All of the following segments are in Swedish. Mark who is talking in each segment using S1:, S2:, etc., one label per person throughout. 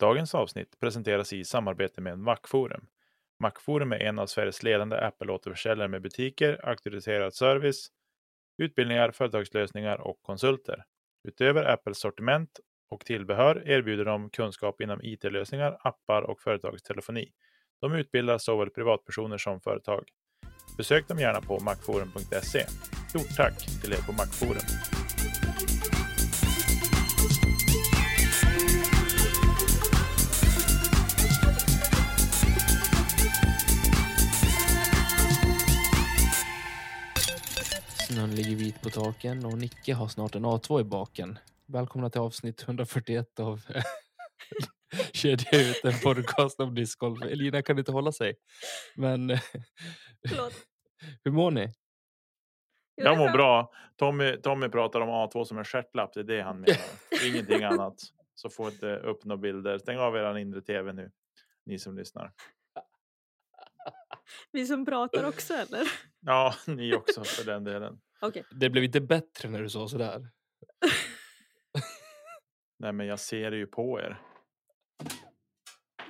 S1: Dagens avsnitt presenteras i samarbete med Macforum. Macforum är en av Sveriges ledande Apple-återförsäljare med butiker, auktoriserad service, utbildningar, företagslösningar och konsulter. Utöver Apples sortiment och tillbehör erbjuder de kunskap inom IT-lösningar, appar och företagstelefoni. De utbildar såväl privatpersoner som företag. Besök dem gärna på macforum.se. Stort tack till er på Macforum.
S2: Snön ligger vit på taken och Nicke har snart en A2 i baken. Välkomna till avsnitt 141 av Kedja ut, en podcast om discgolf. Elina kan inte hålla sig. Men eh,
S3: Förlåt.
S2: hur mår ni?
S3: Jo,
S1: Jag
S3: det
S1: mår
S3: var-
S1: bra. Tommy, Tommy pratar om A2 som en stjärtlapp, det är det han menar. Ingenting annat. Så få inte upp några bilder. Stäng av er inre tv nu, ni som lyssnar.
S3: Vi som pratar också eller?
S1: Ja, ni också för den delen.
S3: Okej.
S2: Det blev inte bättre när du sa sådär.
S1: Nej, men jag ser det ju på er.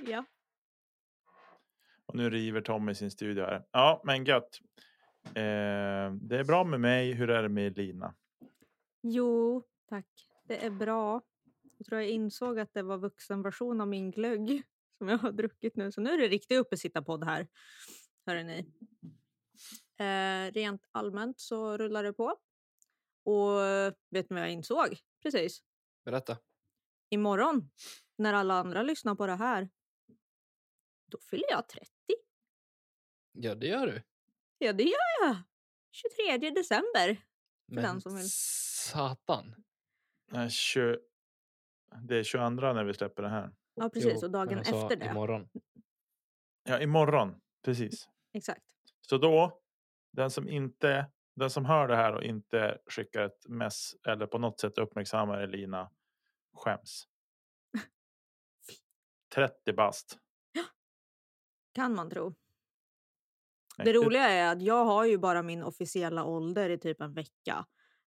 S3: Ja.
S1: Och nu river Tommy sin studio här. Ja, men gött. Eh, det är bra med mig. Hur är det med Elina?
S3: Jo, tack. Det är bra. Jag tror jag insåg att det var vuxenversion av min glögg som jag har druckit nu. Så nu är det riktig uppesittarpodd här. Hörrni. Eh, rent allmänt så rullar det på. Och vet ni vad jag insåg? Precis.
S2: Berätta.
S3: Imorgon, när alla andra lyssnar på det här, då fyller jag 30.
S2: Ja, det gör du.
S3: Ja, det gör jag. 23 december. den
S2: Men
S3: som vill.
S2: satan.
S1: Nej, tjo- Det är 22 när vi släpper det här.
S3: Ja, precis.
S2: Jo,
S3: och
S2: men
S1: eh,
S3: dagen
S2: jag sa
S3: efter det.
S2: Imorgon.
S1: Ja, imorgon. Precis.
S3: Exakt.
S1: Så då, den som inte, den som hör det här och inte skickar ett mess eller på något sätt uppmärksammar Elina skäms. 30 bast.
S3: Kan man tro. Det
S1: Mäktigt.
S3: roliga är att jag har ju bara min officiella ålder i typ en vecka.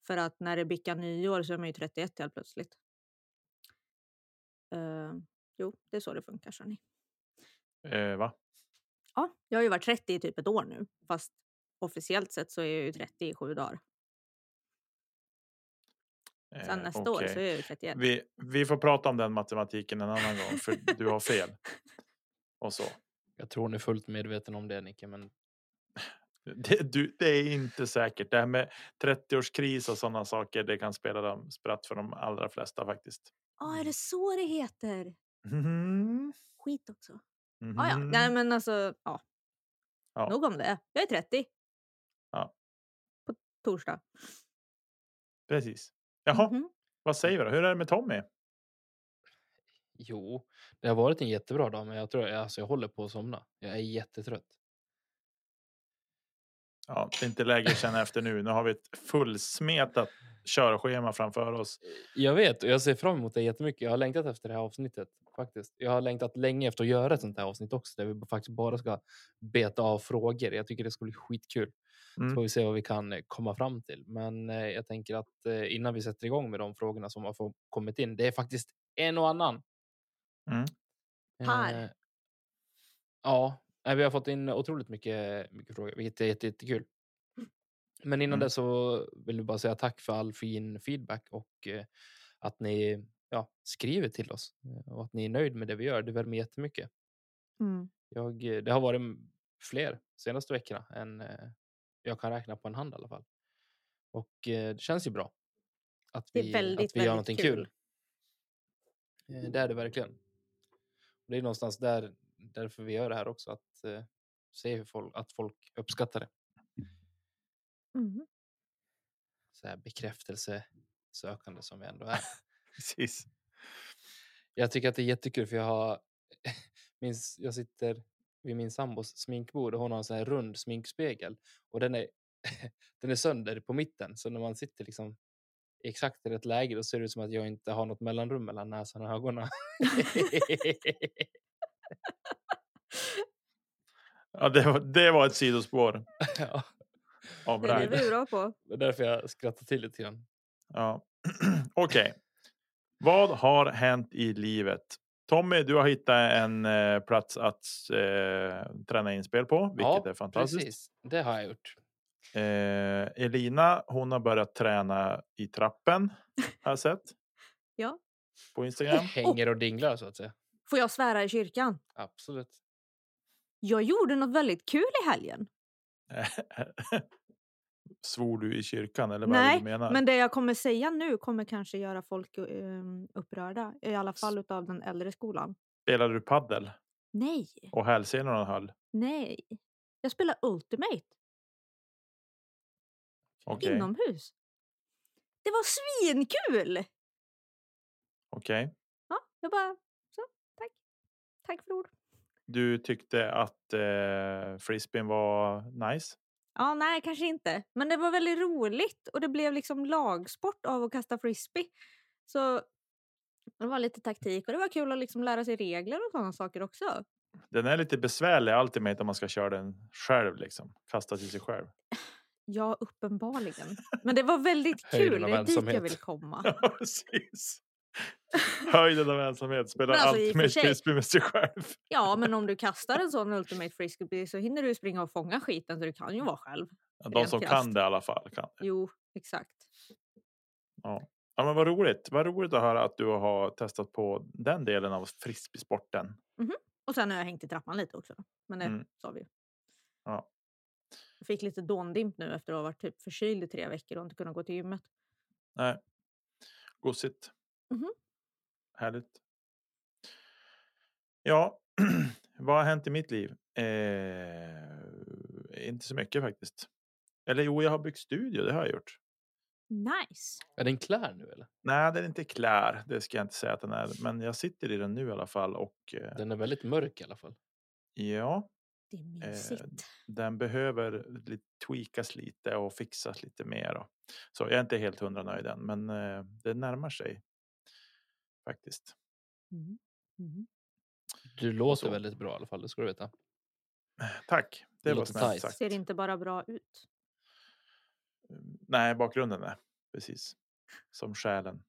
S3: För att när det bickar nyår så är man ju 31 helt plötsligt. Eh, jo, det är så det funkar. Ni.
S1: Eh, va?
S3: Ja, jag har ju varit 30 i typ ett år nu. Fast officiellt sett så är jag ju 30 i sju dagar.
S1: Eh,
S3: Sen nästa år
S1: okej.
S3: så är jag ju 31.
S1: Vi, vi får prata om den matematiken en annan gång för du har fel. Och så.
S2: Jag tror ni är fullt medveten om det, Nicke, men
S1: Det, du, det är inte säkert. Det här med 30-årskris och sådana saker, det kan spela dem spratt för de allra flesta faktiskt.
S3: Ja, är det så det heter?
S1: Mhm.
S3: Skit också. Ah, ja,
S1: Mhm.
S3: nej men alltså, ja.
S1: Ja.
S3: Nog om det. Jag är 30.
S1: Ja.
S3: På torsdag.
S1: Precis. Jaha,
S3: Mhm.
S1: vad säger vi då? Hur är det med Tommy?
S2: jo. Det har varit en jättebra dag, men jag tror alltså, jag håller på att somna. Jag är jättetrött.
S1: Ja, det är inte läge att känna efter nu. Nu har vi ett fullsmetat körschema framför oss.
S2: Jag vet och jag ser fram emot det jättemycket. Jag har längtat efter det här avsnittet faktiskt. Jag har längtat länge efter att göra ett sånt här avsnitt också där vi faktiskt bara ska beta av frågor. Jag tycker det ska bli skitkul.
S1: Mm.
S2: Så får vi se vad vi kan eh, komma fram till. Men eh, jag tänker att eh, innan vi sätter igång med de frågorna som har få- kommit in. Det är faktiskt en och annan.
S1: Mm.
S3: Här.
S2: Eh, Ja, nej, vi har fått in otroligt mycket, mycket frågor, vilket är jätte- jättekul. Men innan
S1: Mm.
S2: det så vill vi bara säga tack för all fin feedback och eh, att ni ja, skriver till oss eh, och att ni är nöjd med det vi gör. Det värmer jättemycket.
S3: Mm.
S2: Jag, eh, det har varit m- fler senaste veckorna än eh, jag kan räkna på en hand i alla fall. Och eh, det känns ju bra. Att
S3: Det
S2: vi,
S3: är väldigt,
S2: att vi gör någonting
S3: väldigt
S2: kul.
S3: kul.
S2: Eh, Det är det verkligen. Och det är någonstans där, därför vi gör det här också. Att eh, se hur folk, att folk uppskattar det.
S3: Mhm. Mm.
S2: Så här bekräftelsesökande som vi ändå är.
S1: Precis.
S2: Jag tycker att det är jättekul för jag har min, jag sitter vid min sambos sminkbord och hon har en sån här rund sminkspegel och den är, den är sönder på mitten så när man sitter liksom i exakt i rätt läge då ser det ut som att jag inte har något mellanrum mellan näsan och ögonen.
S1: Ja, det, var, det var ett sidospår.
S2: ja,
S1: Av
S3: Det är det
S1: rang.
S3: vi är bra på.
S2: det är därför jag skrattar till lite grann.
S1: Ja. Okej. Vad har hänt i livet? Tommy, du har hittat en eh, plats att eh, träna inspel på, vilket
S2: Ja,
S1: är fantastiskt.
S2: Precis, det har jag gjort.
S1: Eh, Elina, hon har börjat träna i trappen, har jag sett.
S3: Ja.
S1: På Instagram.
S2: Hänger och dinglar så att säga.
S3: Får jag svära i kyrkan?
S2: Absolut.
S3: Jag gjorde något väldigt kul i helgen.
S1: Svor du i kyrkan eller vad är det
S3: Nej,
S1: du menar?
S3: men det jag kommer säga nu kommer kanske göra folk ehm, upprörda. I alla fall utav den äldre skolan.
S1: Spelade du paddel
S3: Nej,
S1: och hälsenorna höll?
S3: nej. Jag spelar Ultimate
S1: Okej,
S3: inomhus. Det var svinkul!
S1: okej.
S3: Ja, jag bara, så, tack. Tack för ord.
S1: Du tyckte att eh, frisbeen var nice?
S3: Ja, nej, kanske inte. Men det var väldigt roligt och det blev liksom lagsport av att kasta frisbee. Så det var lite taktik och det var kul att liksom lära sig regler och sådana saker också.
S1: Den är lite besvärlig Ultimate om man ska köra den själv liksom. Kasta till sig själv.
S3: Ja, uppenbarligen. Men det var väldigt
S2: Höjden
S3: kul. Det
S2: av
S3: är dit jag
S2: ensamhet.
S3: vill komma.
S1: Ja, precis. Höjden av ensamhet. Spelar
S3: Men alltså, i och för
S1: Ultimate
S3: sig-
S1: frisbee med sig själv.
S3: Ja, men om du kastar en sån Ultimate Frisbee så hinner du ju springa och fånga skiten så du kan ju vara själv.
S1: Ja, De
S3: Rent
S1: som kan
S3: krasst.
S1: det i alla fall. Kan.
S3: Jo, exakt.
S1: Ja, men vad roligt. Vad roligt att höra att du har testat på den delen av frisbeesporten.
S3: Och sen har jag hängt i trappan lite också. då. Men det
S1: Mm.
S3: sa vi ju.
S1: Ja.
S3: Jag fick lite dåndimp nu efter att ha varit typ förkyld i tre veckor och inte kunnat gå till gymmet.
S1: Nej. Gosigt.
S3: Mhm.
S1: Härligt. Ja, vad har hänt i mitt liv? Eh, inte så mycket faktiskt. Eller jo, jag har byggt studio. Det har jag gjort.
S3: Nice!
S2: Är den klar nu eller?
S1: Nej, den är inte klar. Det ska jag inte säga att den är. Men jag sitter i den nu i alla fall. Och eh,
S2: Den är väldigt mörk i alla fall.
S1: ja,
S3: Det är
S1: Eh,
S3: mysigt.
S1: den behöver lite, tweakas lite och fixas lite mer. Då. Så jag är inte helt hundra nöjd än, men eh, det närmar sig faktiskt.
S3: Mm. Mm.
S2: Du låter
S1: så.
S2: väldigt bra i alla fall, det ska du veta.
S1: Tack, det,
S2: Det
S1: var
S2: låter
S1: snällt
S2: tajt.
S1: sagt.
S3: Ser inte bara bra ut.
S1: Nej, bakgrunden är precis som själen.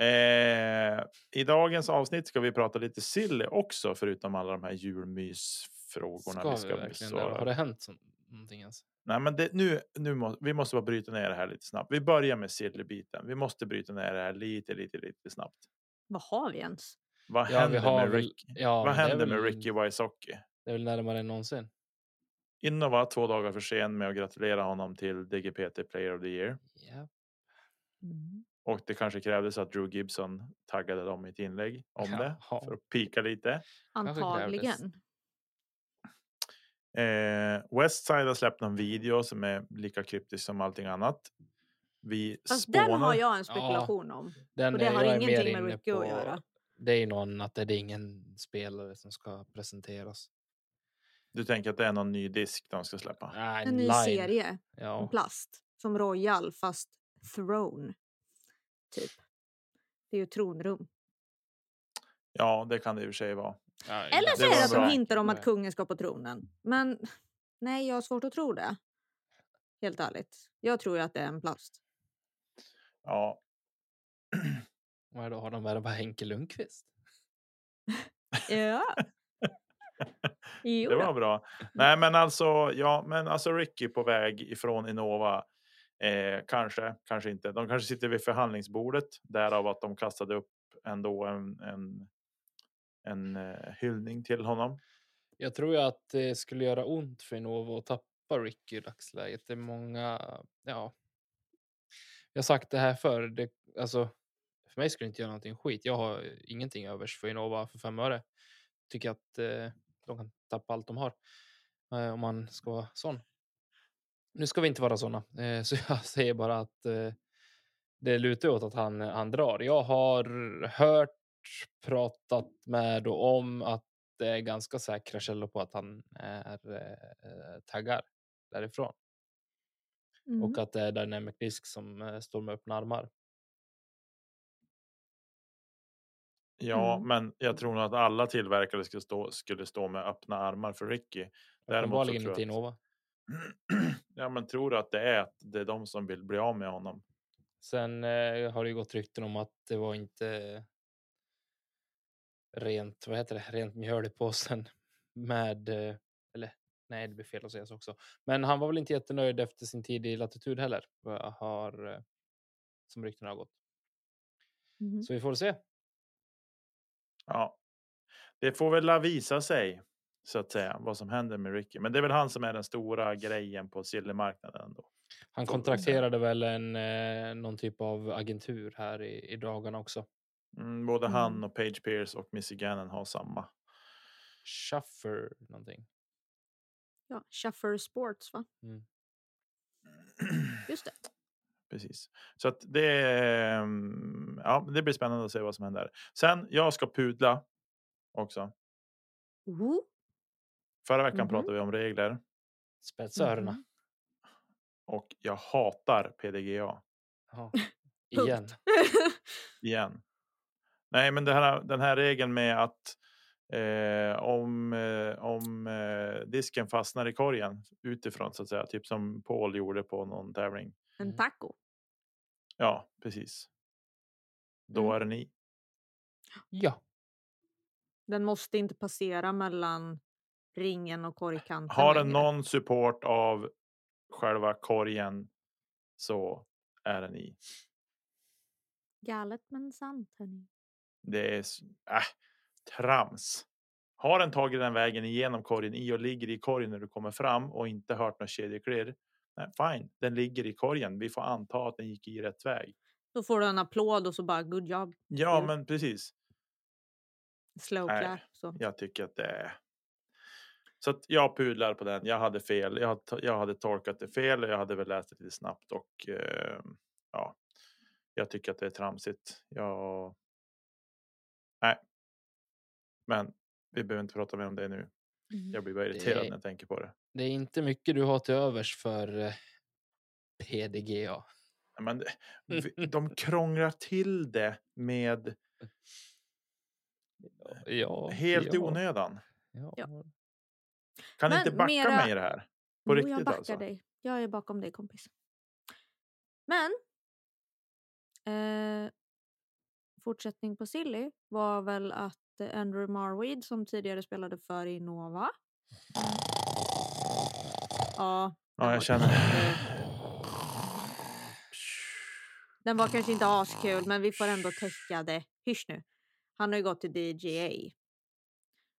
S1: Eh, I dagens avsnitt ska vi prata lite silly också, förutom alla de här julmysfrågorna.
S2: Ska vi, verkligen det? Har det hänt så, någonting ens?
S1: Nej, men det, nu, nu må, vi måste bara bryta ner det här lite snabbt. Vi börjar med sillybiten. Vi måste bryta ner det här lite, lite, lite snabbt.
S3: Vad har vi ens?
S1: Vad
S2: Ja, vi
S1: händer,
S2: har
S1: med,
S2: väl-
S1: Rick,
S2: Ja,
S1: Mm. vad
S2: men det är
S1: händer med
S2: väl-
S1: Ricky Wysocki?
S2: Det är väl närmare än någonsin.
S1: Innova två dagar för sen med att gratulera honom till DGPT Player of the Year.
S2: Ja.
S1: Och det kanske krävdes att Drew Gibson taggade dem i ett inlägg om det
S2: Jaha.
S1: för att pika lite.
S2: Kanske krävdes.
S3: Antagligen.
S1: Eh, Westside har släppt någon video som är lika kryptisk som allting annat. Vi
S3: Fast
S1: spånar.
S3: den har jag en
S2: Ja.
S3: spekulation om.
S2: Den
S3: Och det
S2: är-
S3: har
S2: jag är mer
S3: ingenting med
S2: inne
S3: Ricky
S2: på-
S3: att göra.
S2: Det är ju någon att det är ingen spelare som ska presenteras.
S1: Du tänker att det är någon ny disk de ska släppa?
S2: Nej,
S3: En ny
S2: line.
S3: serie. En
S2: Ja.
S3: plast. Som Royal fast Throne. Typ. Det är ju tronrum.
S1: Ja, det kan det i och för sig vara.
S2: Ja,
S3: Eller så
S1: det
S3: är
S1: var
S3: det att de
S1: bra.
S3: hintar om att
S2: Nej.
S3: kungen ska på tronen. Men nej, jag har svårt att tro det. Helt ärligt. Jag tror ju att det är en plast.
S1: Ja,
S2: Ja, då har de värvat Henke Lundqvist.
S3: Ja. Jo,
S1: det var bra. Nej, men alltså, ja, men alltså Ricky på väg ifrån Innova. Eh, kanske, kanske inte. De kanske sitter vid förhandlingsbordet. Därav att de kastade upp ändå en, en, en eh, hyllning till honom.
S2: Jag tror ju att det skulle göra ont för Innova att tappa Ricky i dagsläget. Det är många, ja. Jag har sagt det här förr, det, alltså. För mig skulle det inte göra någonting skit. Jag har ingenting övers för Innova för fem öre. Tycker att eh, de kan tappa allt de har. Eh, om man ska vara sån. Nu ska vi inte vara såna. Eh, så jag säger bara att eh, det lutar åt att han, han drar. Jag har hört, pratat med och om att det är eh, ganska säkra källor på att han är eh, taggar därifrån
S3: Mm.
S2: och att det är Dynamic Disk som eh, står med öppna armar.
S1: Ja,
S3: Mm.
S1: men jag tror nog att alla tillverkare skulle stå, skulle stå med öppna armar för Ricky. Däremot så
S2: Uppenbarligen
S1: tror
S2: inte
S1: jag att,
S2: Innova.
S1: ja, men tror du att det är att det är de som vill bli av med honom?
S2: Sen eh, har det ju gått rykten om att det var inte rent, vad heter det, rent mjöl i påsen med, eh, eller nej det blir fel att säga så också. Men han var väl inte jättenöjd efter sin tid i latitud heller, vad jag har, eh, som ryktena har gått.
S1: Mm.
S3: Mhm.
S2: Så vi får se.
S1: Ja, det får väl la visa sig så att säga vad som händer med Ricky. Men det är väl han som är den stora grejen på silvermarknaden. Ändå.
S2: Han
S1: Får vi se.
S2: kontrakterade väl en, eh, någon typ av agentur här i, i dagarna också.
S1: Mm, både han
S3: Mm.
S1: och Page Pierce och Missy Gannon har samma.
S2: Schaffer någonting.
S3: Ja, Shuffer Sports va? Just det.
S1: Precis. Så att det, mm, ja, det blir spännande att se vad som händer. Sen, jag ska pudla också.
S3: Oho.
S1: Förra veckan
S3: Mhm.
S1: pratade vi om regler
S2: Spetsa öronen.
S3: Mhm.
S1: och jag hatar PDGA
S2: Ja.
S3: Punkt.
S2: Igen.
S1: igen. Nej, men det här, den här regeln med att eh, om, eh, om eh, disken fastnar i korgen utifrån så att säga, typ som Paul gjorde på någon tävling.
S3: En
S2: Mm.
S3: taco.
S1: Ja, precis. Då
S3: Mm.
S1: är den i.
S2: Ja.
S3: Den måste inte passera mellan ringen och korgkanten.
S1: Har den
S3: längre.
S1: någon support av själva korgen så är den i.
S3: Galet men sant hörni.
S1: Det är s- äh, trams. Har den tagit den vägen igenom korgen i och ligger i korgen när du kommer fram och inte hört något kedjeklirr. Nej, fine, den ligger i korgen. Vi får anta att den gick i rätt väg.
S3: Då får du en applåd och så bara good job.
S1: Ja,
S3: Mm.
S1: men precis.
S3: Slow
S1: Nej.
S3: clap. Så.
S1: Jag tycker att det är. Så att jag pudlar på den. Jag hade fel. Jag, hade to- jag hade tolkat det fel och jag hade väl läst det lite snabbt och eh, ja, jag tycker att det är tramsigt. Jag. Nej. Men vi behöver inte prata mer om det nu.
S3: Mhm.
S1: Jag blir bara irriterad
S2: Det-
S1: när jag tänker på det.
S2: Det är inte mycket du har till övers för eh, PDGA.
S1: Nej, Men det- vi- de krånglar till det med
S2: Ja,
S1: helt i
S2: ja,
S1: onödan.
S2: Ja.
S3: Ja.
S1: Kan
S3: Men
S1: inte backa
S3: mera-
S1: mig i det här. På
S3: Jo, jag
S1: riktigt,
S3: backar
S1: alltså.
S3: dig. Jag är bakom dig kompis. Men. Eh, fortsättning på Silly var väl att eh, Andrew Marweed som tidigare spelade för Innova.
S1: Mm.
S3: Ja, eh,
S1: Ja, jag
S3: var kanske
S1: känner.
S3: Den var kanske inte askul, men vi får ändå täcka det. Hysch nu. Han har ju gått till DJA.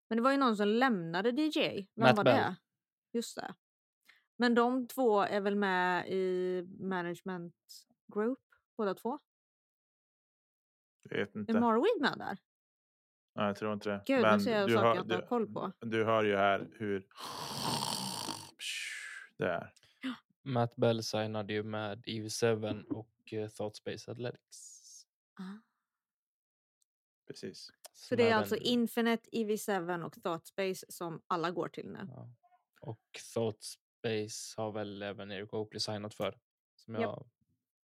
S3: Men det var ju någon som lämnade DJA. Vem
S2: Matt
S3: var
S2: Bell.
S3: det? Just det. Men de två är väl med i management group, båda två?
S1: Jag vet
S3: Är
S1: inte.
S3: Marweed med där?
S1: Nej, jag tror inte det.
S3: Gud,
S1: Men
S3: nu ser jag
S1: du
S3: saker
S1: hör-
S3: jag inte har
S1: du-
S3: koll på.
S1: Du hör ju här hur det är.
S2: Matt Bell signade ju med EV7 och eh, Thoughtspace Athletics.
S1: Precis.
S3: Så
S2: som
S3: det är
S2: även-
S3: alltså Infinite, EV7 och Thoughtspace som alla går till nu.
S2: ja. Och Thoughtspace har väl även Eric Oakley signat för. Som
S3: Japp.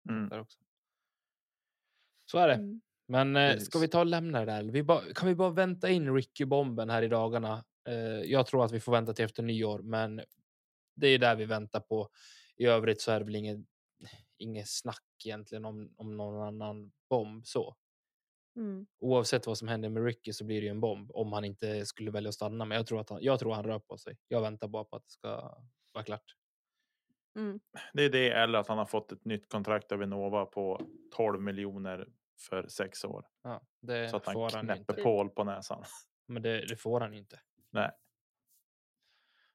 S2: jag
S1: Mm.
S2: där också. Så är det.
S3: Mm.
S2: Men eh, ska
S1: Precis.
S2: vi ta och lämna det där? eller? Vi bara, kan vi bara vänta in Ricky-bomben här i dagarna? Eh, jag tror att vi får vänta till efter nyår, men det är där vi väntar på. I övrigt så är det väl inget, inget snack egentligen om, om någon annan bomb så.
S3: Mm.
S2: Oavsett vad som händer med Ricky så blir det ju en bomb om han inte skulle välja att stanna. Men jag tror att han, jag tror han rör på sig. Jag väntar bara på att det ska vara klart.
S3: Mm.
S1: Det är det eller att han har fått ett nytt kontrakt av Vinnova på 12 miljoner för sex år.
S2: Ja, det
S1: Så att han
S2: får han ju
S1: knäpper
S2: inte.
S1: Paul på näsan.
S2: Men det, det får han ju inte.
S1: Nej.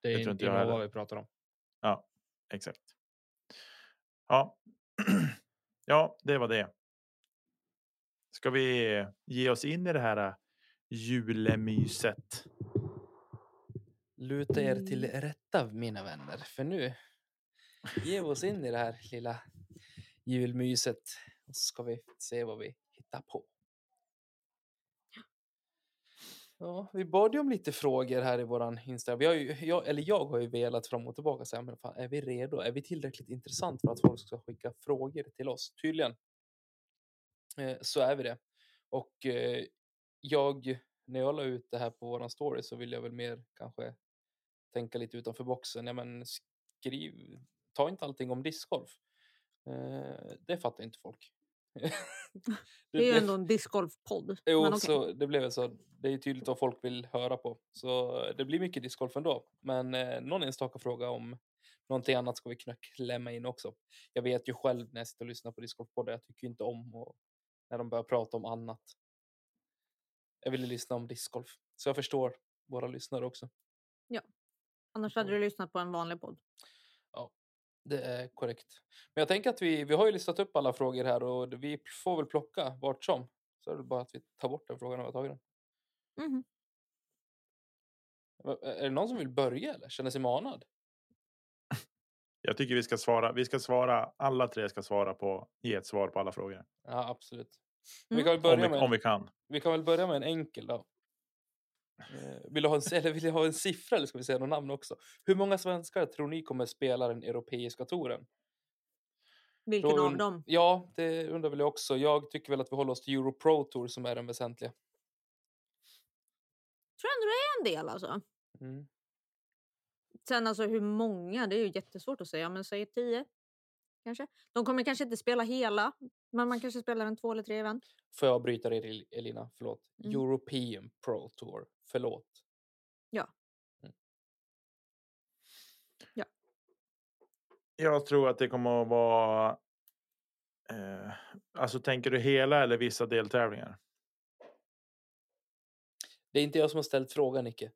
S2: Det är
S1: Det tror
S2: inte
S1: inte jag
S2: Innova
S1: heller.
S2: vi pratar om.
S1: Exakt. Ja. ja, det var det. Ska vi ge oss in i det här äh, julemyset?
S2: Luta er till
S3: Mm.
S2: rätta mina vänner, för nu ger vi oss in i det här lilla julmyset Och så ska vi se vad vi hittar på. Ja, vi bad ju om lite frågor här i våran Instagram. Vi har ju, jag, eller jag har ju velat fram och tillbaka så här, men fan, är vi redo? Är vi tillräckligt intressant för att folk ska skicka frågor till oss? Tydligen eh, så är vi det. Och eh, jag, när jag la ut det här på våran story så vill jag väl mer kanske tänka lite utanför boxen. Ja, men skriv, ta inte allting om discgolf. Eh, det fattar inte folk. det,
S3: Det är ju
S2: blev-
S3: ändå en discgolfpodd.
S2: Jo,
S3: men okej.
S2: så det blev så. Det är ju tydligt vad folk vill höra på. Så det blir mycket discgolf ändå. Men eh, någon enstaka fråga om någonting annat ska vi kunna klämma in också. Jag vet ju själv när jag sitter och lyssnar på discgolfpoddar, jag tycker ju inte om och när de börjar prata om annat. Jag ville lyssna om discgolf, så jag förstår våra lyssnare också.
S3: Annars hade du lyssnat på en vanlig podd.
S2: Det är korrekt. Men jag tänker att vi, vi har ju listat upp alla frågor här och vi får väl plocka vart som. Så är det bara att vi tar bort den frågan när vi har tagit den.
S3: Mhm.
S2: Va- Är det någon som vill börja eller känner sig manad?
S1: Jag tycker vi ska svara. Vi ska svara. Alla tre ska svara på. Ge ett svar på alla frågor.
S2: Ja, absolut. Vi
S3: Mm.
S2: kan väl
S1: Om
S2: börja
S1: vi,
S2: med,
S1: om
S2: en-
S1: vi kan.
S2: vi kan väl börja med en enkel då. Eh, Vill du, ha en, s- eller vill du ha en siffra eller ska vi säga något namn också? Hur många svenskar tror ni kommer spela den europeiska touren?
S3: Vilken
S2: Då
S3: av
S2: und-
S3: dem?
S2: Ja, det undrar väl jag också. Jag tycker väl att vi håller oss till Euro Pro Tour som är den väsentliga.
S3: tror ändå det är en del alltså.
S2: Mm.
S3: Sen alltså hur många, det är ju jättesvårt att säga. Men säg tio kanske. De kommer kanske inte spela hela. Men man kanske spelar en två eller tre event.
S2: Får jag bryta dig El- Elina? Förlåt.
S3: Mm.
S2: European Pro Tour. Förlåt.
S3: Ja.
S2: Mm.
S1: Jag tror att det kommer att vara. Eh, alltså tänker du hela eller vissa deltävlingar?
S2: Det är inte jag som har ställt frågan, Nicke.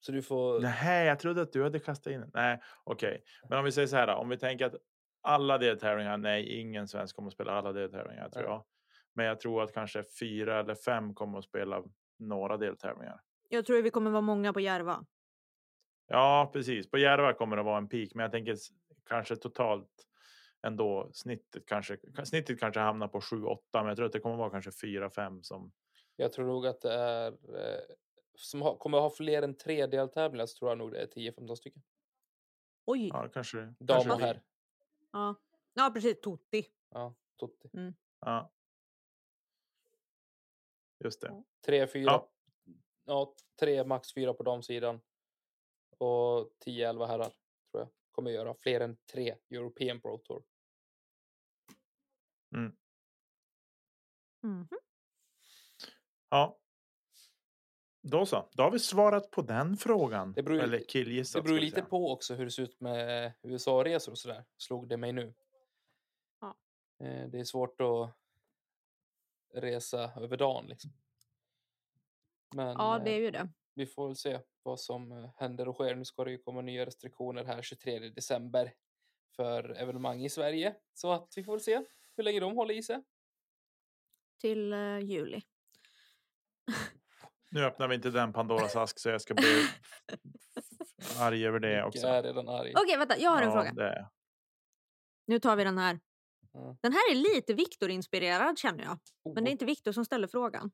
S2: Så du får...
S1: Nej, jag trodde att du hade kastat in. den. Nej, okej. Men om vi säger så här då, om vi tänker att alla deltävlingar. Nej, ingen svensk kommer att spela alla deltävlingar tror
S2: Nej.
S1: jag. Men jag tror att kanske fyra eller fem kommer att spela några deltävlingar.
S3: Jag tror vi kommer vara många på Järva.
S1: Ja, precis. På Järva kommer det vara en peak, men jag tänker s- kanske totalt ändå snittet kanske. ka- Snittet kanske hamnar på 7 8, men jag tror att det kommer vara kanske 4 5 som
S2: Jag tror nog att det är... Eh, som har, kommer ha fler än tre deltävlingar så tror jag nog det är 10-15 stycken.
S3: Oj!
S1: ja, kanske.
S2: Dam
S1: kanske
S2: och
S1: blir-
S2: herr.
S3: Ja, ja precis. Totti.
S2: Ja, Totti.
S1: Ja. Just det.
S2: Tre, fyra. Ja.
S1: Ja.
S2: tre, max fyra på damsidan. Och 10-11 herrar, tror jag. Kommer göra fler än tre European Pro Tour.
S3: Mhm.
S1: Ja. Då så, då har vi svarat på den frågan.
S2: Det beror-
S1: Eller killgissat.
S2: Det beror ju
S1: ska vi
S2: lite
S1: säga.
S2: på också hur det ser ut med USA-resor och sådär, slog det mig nu.
S3: Ja.
S2: Eh, Det är svårt att resa över dagen liksom. Men
S3: Ja, det
S2: eh,
S3: är ju det.
S2: vi får väl se vad som eh, händer och sker. Nu ska det ju komma nya restriktioner här 23 december för evenemang i Sverige. Så att vi får väl se hur länge de håller i sig.
S3: Till eh, juli.
S1: Nu öppnar vi inte den Pandoras ask så jag ska bli arg över det
S2: Micke
S1: också.
S2: är redan arg.
S3: Okej, vänta. Jag har en
S1: Ja,
S3: fråga.
S1: det är-
S3: Nu tar vi den här.
S2: Ja.
S3: Den här är lite Viktor-inspirerad känner jag. Men det är
S2: Oh,
S3: inte Viktor som ställer frågan.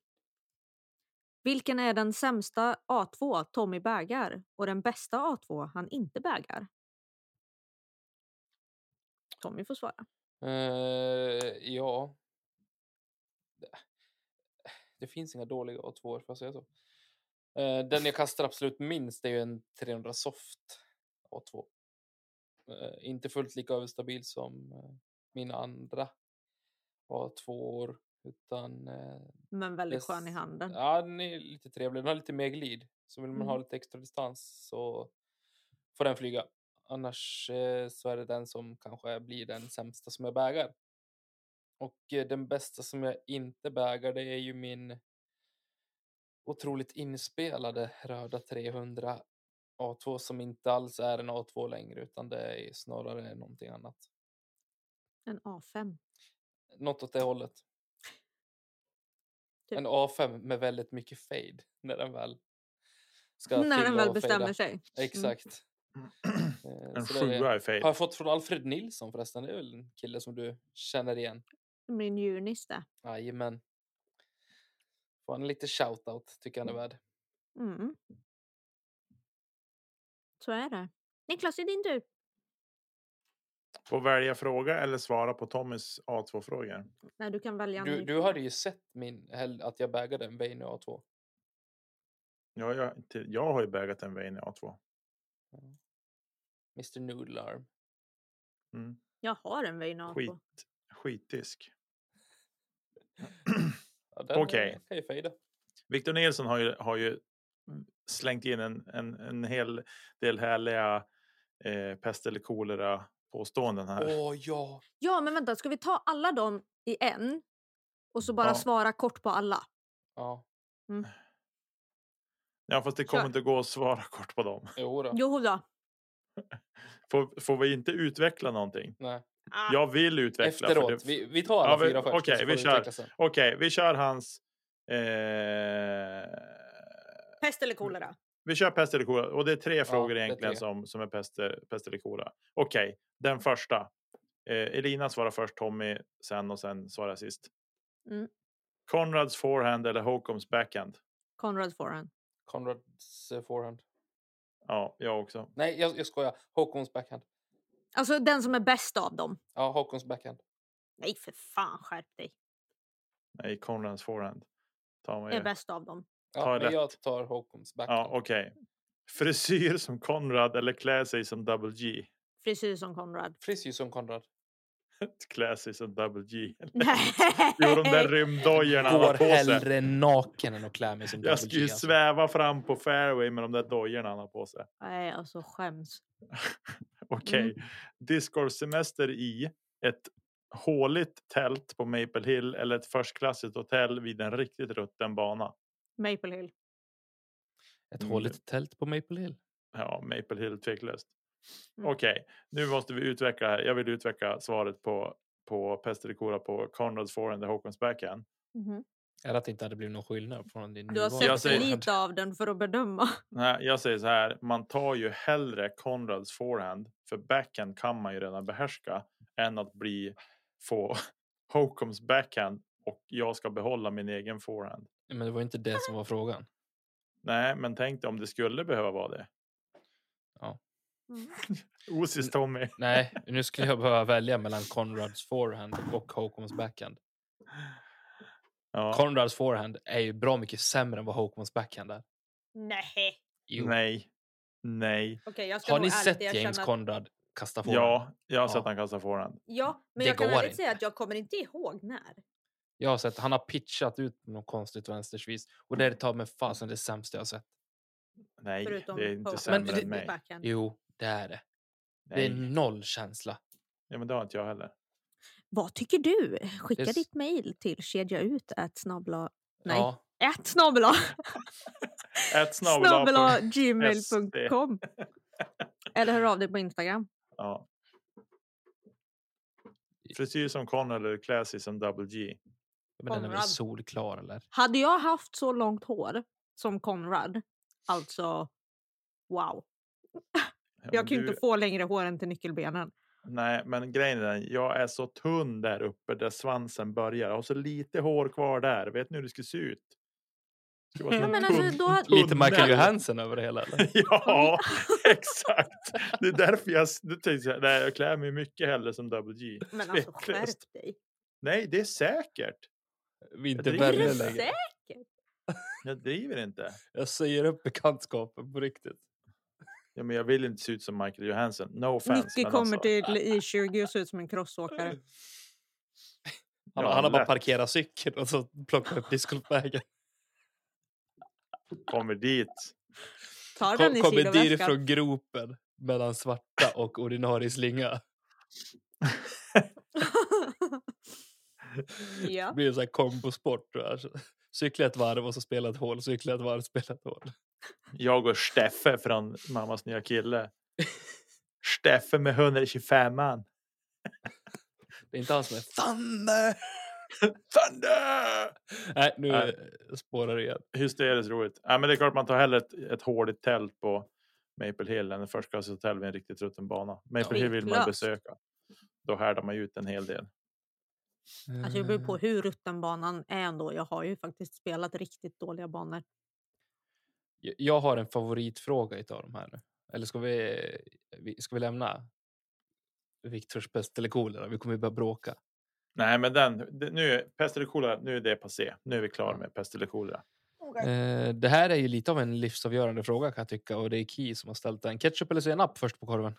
S3: Vilken är den sämsta A2 Tommy bägar och den bästa A2 han inte bägar? Tommy får svara.
S2: eh, ja. Det- Det finns inga dåliga A2, får jag säga så? Eh, den jag kastar absolut minst är ju en 300 soft A2. Eh, inte fullt lika överstabil som eh, mina andra A2 utan eh,
S3: Men väldigt
S2: Yes.
S3: skön i handen.
S2: Ja, den är lite trevlig. Den har lite mer glid. Så vill man ha
S3: Mm.
S2: lite extra distans så får den flyga. Annars eh, så är det den som kanske blir den sämsta som jag bägar. Och eh, den bästa som jag inte bägar det är ju min otroligt inspelade röda 300 A2 som inte alls är en A2 längre utan det är snarare någonting annat.
S3: En A5.
S2: Något åt det hållet.
S3: Typ.
S2: En A5 med väldigt mycket fade när den väl ska
S3: När den
S2: fylla
S3: väl
S2: och fejda.
S3: bestämmer sig. Mm.
S2: Exakt. Eh,
S1: En
S2: så det är-
S1: sjua är
S2: Har
S1: fejl.
S2: jag fått från Alfred Nilsson förresten? Det är väl en kille som du känner igen?
S3: Det blir en djurnisse.
S2: Jajamän. Får han lite shoutout tycker han är värd.
S3: Mm. Så är det. Niklas, det är din tur.
S1: Får välja fråga eller svara på Tommys A2-frågor.
S3: Nej, du kan välja en
S2: Du,
S3: ny
S2: du
S3: fråga.
S2: hade ju sett min, hel- att jag bägade en Veinu A2.
S1: Ja, jag, till, jag har ju bägat en Vein i A2.
S2: Mr Noodle Arm.
S1: Mm.
S3: Jag har en Veinato.
S1: Skit, skitdisk.
S2: Ja, den, eh,
S1: Okej.
S2: kan ju fejda.
S1: Victor Nilsson har ju, har ju mm, slängt in en, en, en hel del härliga eh, pest eller kolera påståenden här.
S2: Åh ja!
S3: Ja, men vänta, ska vi ta alla dem i en? Och så bara
S1: Ja.
S3: svara kort på alla?
S2: Ja,
S1: Ja, fast det
S3: Kör.
S1: kommer inte gå att svara kort på dem.
S2: jo då.
S3: Jo då.
S1: Får, får vi inte utveckla någonting?
S2: Nej.
S3: Ah.
S1: Jag vill utveckla. för
S2: Efteråt.
S1: det-
S2: Vi, vi tar alla
S1: Ja, vi-
S2: fyra först.
S1: okej,
S2: så får
S1: vi
S2: det
S1: kör.
S2: utvecklas sen.
S1: Okej, vi kör hans... Eh,
S3: Pest eller kolera?
S1: Vi kör pest eller kolera. Och det är tre frågor
S2: det är
S1: egentligen
S2: tre.
S1: Som, som är pest, pest eller kolera. Okej, den första. Eh, Elina svarar först, Tommy sen och sen svarar jag sist.
S3: Mm.
S1: Conrads forehand eller Håkoms backhand?
S3: Conrad forehand.
S2: Conrads eh, forehand.
S1: Ja, jag också.
S2: Nej, jag, jag skojar. Håkons backhand.
S3: Alltså den som är bäst av dem.
S2: Ja, Håkons backhand.
S3: Nej, för fan, skärp dig.
S1: Nej, Conrads forehand. Ta mig
S3: Är
S1: det.
S3: bäst av dem.
S2: Ja,
S1: Ta
S2: men
S1: lätt.
S2: jag tar Håkons backhand.
S1: Ja, okej. Frisyr som Conrad eller klä sig som Double G?
S3: Frisyr som Conrad.
S2: Frisyr som Conrad.
S1: Klä sig som Double G.
S3: Nej.
S1: Jo, de där rymddojorna han har
S2: Går
S1: på sig.
S2: hellre naken än att klä mig som
S1: Jag
S2: Double
S1: skulle ju
S2: G. Alltså.
S1: sväva fram på fairway med de där dojorna han har på sig.
S3: Nej, alltså skäms.
S1: Okej. Discord-semester i ett håligt tält på Maple Hill eller ett förstklassigt hotell vid en riktigt rutten bana.
S3: Maple Hill.
S2: Ett
S1: Mm.
S2: håligt tält på Maple Hill.
S1: Ja, Maple Hill tveklöst.
S3: Mm.
S1: Okej, nu måste vi utveckla. här. Jag vill utveckla svaret på på pest eller kolera på Conrads forehand och Håkons backhand.
S3: Mhm.
S2: Eller att det inte hade blivit någon skillnad från din
S3: Du har
S2: nuvarande
S1: Mm, Jag
S3: sett för
S1: säger-
S2: forehand.
S3: lite av den för att bedöma.
S1: Nej, jag säger så här. Man tar ju hellre Conrads forehand för backhand kan man ju redan behärska än att bli få Håkons backhand och jag ska behålla min egen forehand.
S2: Men det var ju inte det som var frågan.
S1: Nej, men tänk dig om det skulle behöva vara det.
S2: Ja.
S3: Mm.
S1: Osis Tommy.
S2: Nej, nu skulle jag behöva välja mellan Conrads forehand och Håkons backhand.
S1: Ja.
S2: Conrads forehand är ju bra mycket sämre än vad Håkons backhand är.
S3: Nej.
S2: Jo.
S1: Nej. Nej.
S3: Okej, jag ska
S2: Har
S3: nog
S2: ni
S3: ärligt
S2: sett
S3: erkänna
S2: James
S3: att-
S2: Conrad kasta forehand?
S1: Ja, jag har sett
S2: Ja.
S1: att han kastar forehand.
S3: Ja, men
S2: Det
S3: jag kan
S2: går
S3: ärligt säga
S2: inte.
S3: att jag kommer inte ihåg när.
S2: Jag har sett, han har pitchat ut något konstigt vänstersvis. Och det är ta mig fasen det sämsta jag har sett.
S1: Nej,
S3: Förutom
S1: det är inte
S3: Hope
S1: sämre
S2: Men det-
S1: än mig.
S3: backhand.
S2: Jo, det är det. Det är
S1: Nej.
S2: noll känsla.
S1: Ja, men det har inte jag heller.
S3: Vad tycker du? Skicka
S2: Det är s-
S3: ditt mejl till kedjaut at snabla... Nej.
S2: Ja,
S3: At snabla!
S1: Ett snabbla.
S3: snabla
S1: punkt-
S3: gmail.com Eller hör av dig på Instagram.
S1: Ja. Frisyr som Con eller klä sig som Double G.
S2: men den är väl
S3: Conrad.
S2: solklar eller?
S3: Hade jag haft så långt hår som Konrad, alltså wow.
S1: Ja, men
S3: Jag kan ju
S1: du-
S3: inte få längre hår än till nyckelbenen.
S1: Nej, men grejen är den. Jag är så tunn där uppe där svansen börjar. Jag har så lite hår kvar där. Vet ni hur det skulle se ut? Det skulle vara
S3: Ja,
S1: som en
S3: men alltså,
S1: tunn-
S3: då hade-
S2: Lite Michael
S1: tunnel.
S2: Johansson över det hela eller?
S1: Ja, exakt. Det är därför jag s- då tänkte jag, nej, jag klär mig mycket hellre som Double G.
S3: Men alltså
S1: Tveklöst.
S3: skärp dig.
S1: Nej, det är säkert. driver
S3: Är
S1: Värre
S3: du
S2: Vinterberg längre.
S3: säker?
S1: Jag driver inte.
S2: Jag säger upp bekantskapen på riktigt.
S1: Ja, men jag vill inte se ut som Michael Johansson. No offense.
S3: Nicky
S1: men
S3: kommer
S1: alltså,
S3: till I20 och ser ut som en crossåkare.
S2: Han,
S1: Ja,
S2: han har bara
S1: lätt.
S2: parkerat cykeln och så plockat upp discgolfbagen.
S1: Kommer dit.
S3: Tar den
S2: Kom,
S3: i
S2: kommer dyr
S3: sidoväskan.
S2: från gropen mellan svarta och ordinarie slinga.
S3: Ja.
S2: Det blir en sån här kombosport. tror jag. Så Cykla ett varv och så spela ett hål, cykla ett varv, spela ett hål.
S1: Jag och Steffe från Mammas nya kille. Steffe med 125an.
S2: Det är inte han som är Thunder!
S1: Thunder!
S2: Nej, nu
S1: Nej.
S2: eh, spårar det igen.
S1: Hysteriskt roligt. Ja, men det är klart man tar hellre ett, ett håligt tält på Maple Hill än ett förstklasshotell vid en riktigt rutten bana. Maple Hill vill man
S3: Tveklöst.
S1: besöka. Då härdar man ju ut en hel del.
S3: Alltså det
S2: Eh,
S3: beror på hur rutten banan är ändå. Jag har ju faktiskt spelat riktigt dåliga banor.
S2: Jag- Jag har en favoritfråga utav de här nu. Eller ska vi, vi- ska vi lämna Viktors pest eller kolera? Vi kommer ju börja bråka.
S1: Nej, men den, det- nu, pest eller kolera, nu är det passé. Nu är vi klara med pest eller kolera.
S3: Oh
S2: Eh, Det här är ju lite av en livsavgörande fråga kan jag tycka och det är Ki som har ställt den. Ketchup eller senap först på korven?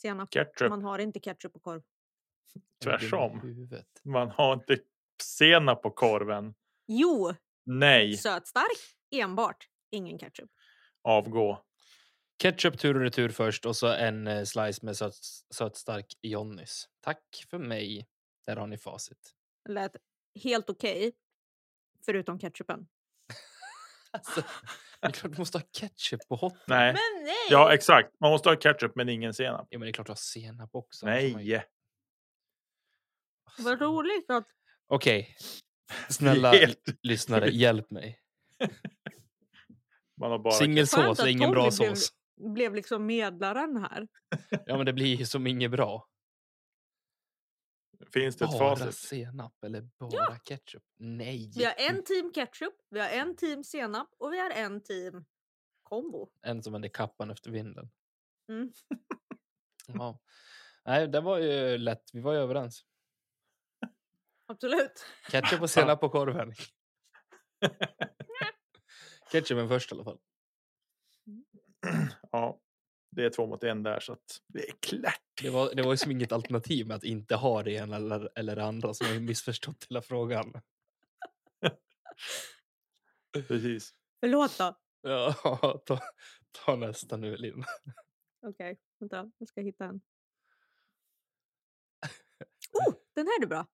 S3: Senap.
S1: Ketchup,
S3: Man har inte ketchup på korv.
S1: Tvärsom.
S2: I huvudet.
S1: man har inte senap på korven.
S3: Jo,
S1: Nej,
S3: sötstark enbart. Ingen ketchup.
S1: avgå.
S2: Ketchup tur och retur först och så en eh, slice med söt, sötstark Johnnys. Tack för mig. Där har ni facit.
S3: Lät helt okej. Förutom ketchupen.
S2: Alltså, det är klart du måste ha ketchup på hot.
S1: Nej.
S3: Men nej!
S1: Ja, exakt. Man måste ha ketchup men ingen senap.
S2: Ja, men det är klart du har senap också. Oh annars har man ju-
S1: Nej,
S2: Alltså.
S3: Vad roligt att
S2: Okej. Snälla
S1: helt.
S2: lyssnare, hjälp mig.
S1: Man har bara
S2: Singelsås
S3: Skönt att
S2: är ingen
S3: Tommy
S2: bra
S3: blev-
S2: sås.
S3: blev liksom medlaren här.
S2: Ja, men det blir ju som inget bra.
S1: Finns det ett
S2: Bara
S1: facit?
S2: senap eller bara ketchup? Nej.
S3: Vi har en team ketchup, vi har en team senap och vi har en team kombo.
S2: En som vänder kappan efter vinden.
S3: Mm.
S2: Ja. Nej, det var ju lätt. Vi var ju överens.
S3: Absolut.
S2: Ketchup och senap på korven. Ketchupen först i alla fall.
S1: ja, det är två mot en där så att det är klart.
S2: Det var, det var ju som inget alternativ med att inte ha det ena eller, eller det andra som har ju missförstått hela frågan.
S1: Precis.
S3: Förlåt då.
S2: Ja, ta, ta nästa nu, Linn.
S3: Okej, vänta. Jag ska hitta en. Oh, den här är bra.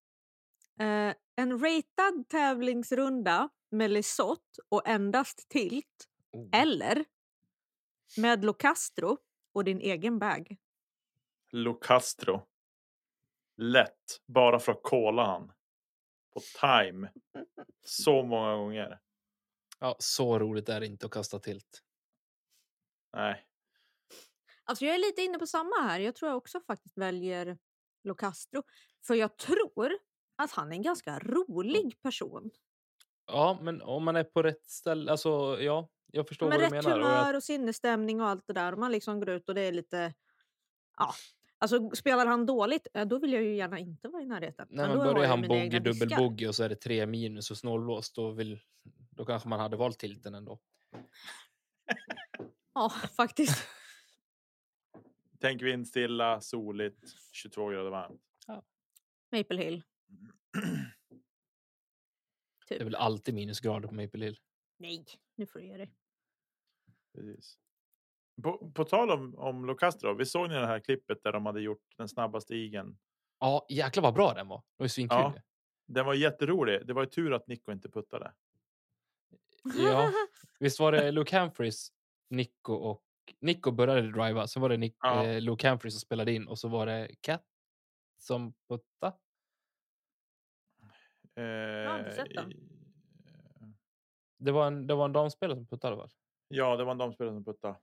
S3: Eh, en ratad tävlingsrunda med Lesoth och endast tilt eller med Locastro och din egen bag.
S1: Locastro. Lätt. Bara för att kolla han. På time. Så många gånger.
S2: Ja, så roligt är det inte att kasta tilt.
S1: Nej.
S3: Alltså jag är lite inne på samma här. Jag tror jag också faktiskt väljer Locastro. För jag tror att han är en ganska
S2: Mm.
S3: rolig person.
S2: Ja, men om man är på rätt ställe, alltså ja, jag förstår
S3: Med
S2: vad du
S3: rätt
S2: menar. och jag,
S3: humör och sinnesstämning och allt det där. Och man liksom går ut och det är lite... Ja. Alltså spelar han dåligt, eh, då vill jag ju gärna inte vara i närheten.
S2: när
S3: då
S2: man
S3: har jag
S2: börjar
S3: ju
S2: han
S3: mina
S2: bogey,
S3: egna
S2: dubbel
S3: diskar.
S2: bogey och så är det tre minus och snållblåst, då, vill- då kanske man hade valt tilten ändå.
S3: Ja, faktiskt.
S1: Tänk vindstilla, soligt, 22 grader varmt.
S3: Maple Hill.
S2: Det är väl alltid minusgrader på Maple Hill.
S3: typ. Nej, nu får du ge dig.
S1: Precis. På, på tal om, om Locastro. Vi såg ni det här klippet där de hade gjort den snabbaste igen.
S2: Ja, jäklar vad bra den var. Det var ju svinkul.
S1: Ja.
S2: ju.
S1: Den var jätterolig. Det var ju tur att Nico inte puttade.
S2: Ja. Visst var det Luke Humphries, Nico och Nico började driva, sen var det Nick,
S1: Ja.
S2: eh, Luke Humphries som spelade in och så var det Cat som putta.
S1: Jag
S3: har
S1: Eh,
S3: inte sett den.
S2: Det var en, det var en damspelare som puttade väl?
S1: Ja, det var en damspelare som puttade.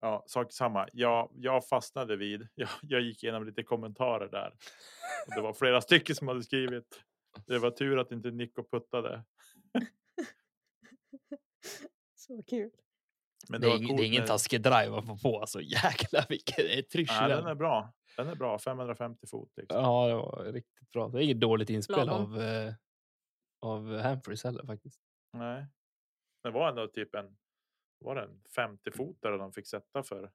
S1: Ja, sak samma. Jag, jag fastnade vid. Jag, jag gick igenom lite kommentarer där. Och det var flera stycken som hade skrivit. Det var tur att inte Nico puttade.
S3: Så kul.
S1: Men
S2: det,
S1: var
S2: är, ing-
S1: coolt
S2: det är ingen
S1: när-
S2: taskig drive att få på alltså. Jäklar vilken det är trysch i
S1: Nej, den
S2: den.
S1: är bra. Den är bra. 550 fot. Liksom.
S2: Ja, det var riktigt bra. Det är inget dåligt inspel
S3: Lagom.
S2: av, eh, av Humphries heller faktiskt.
S1: Nej. Det var ändå typ en. Var det en 50 fotare de fick sätta för?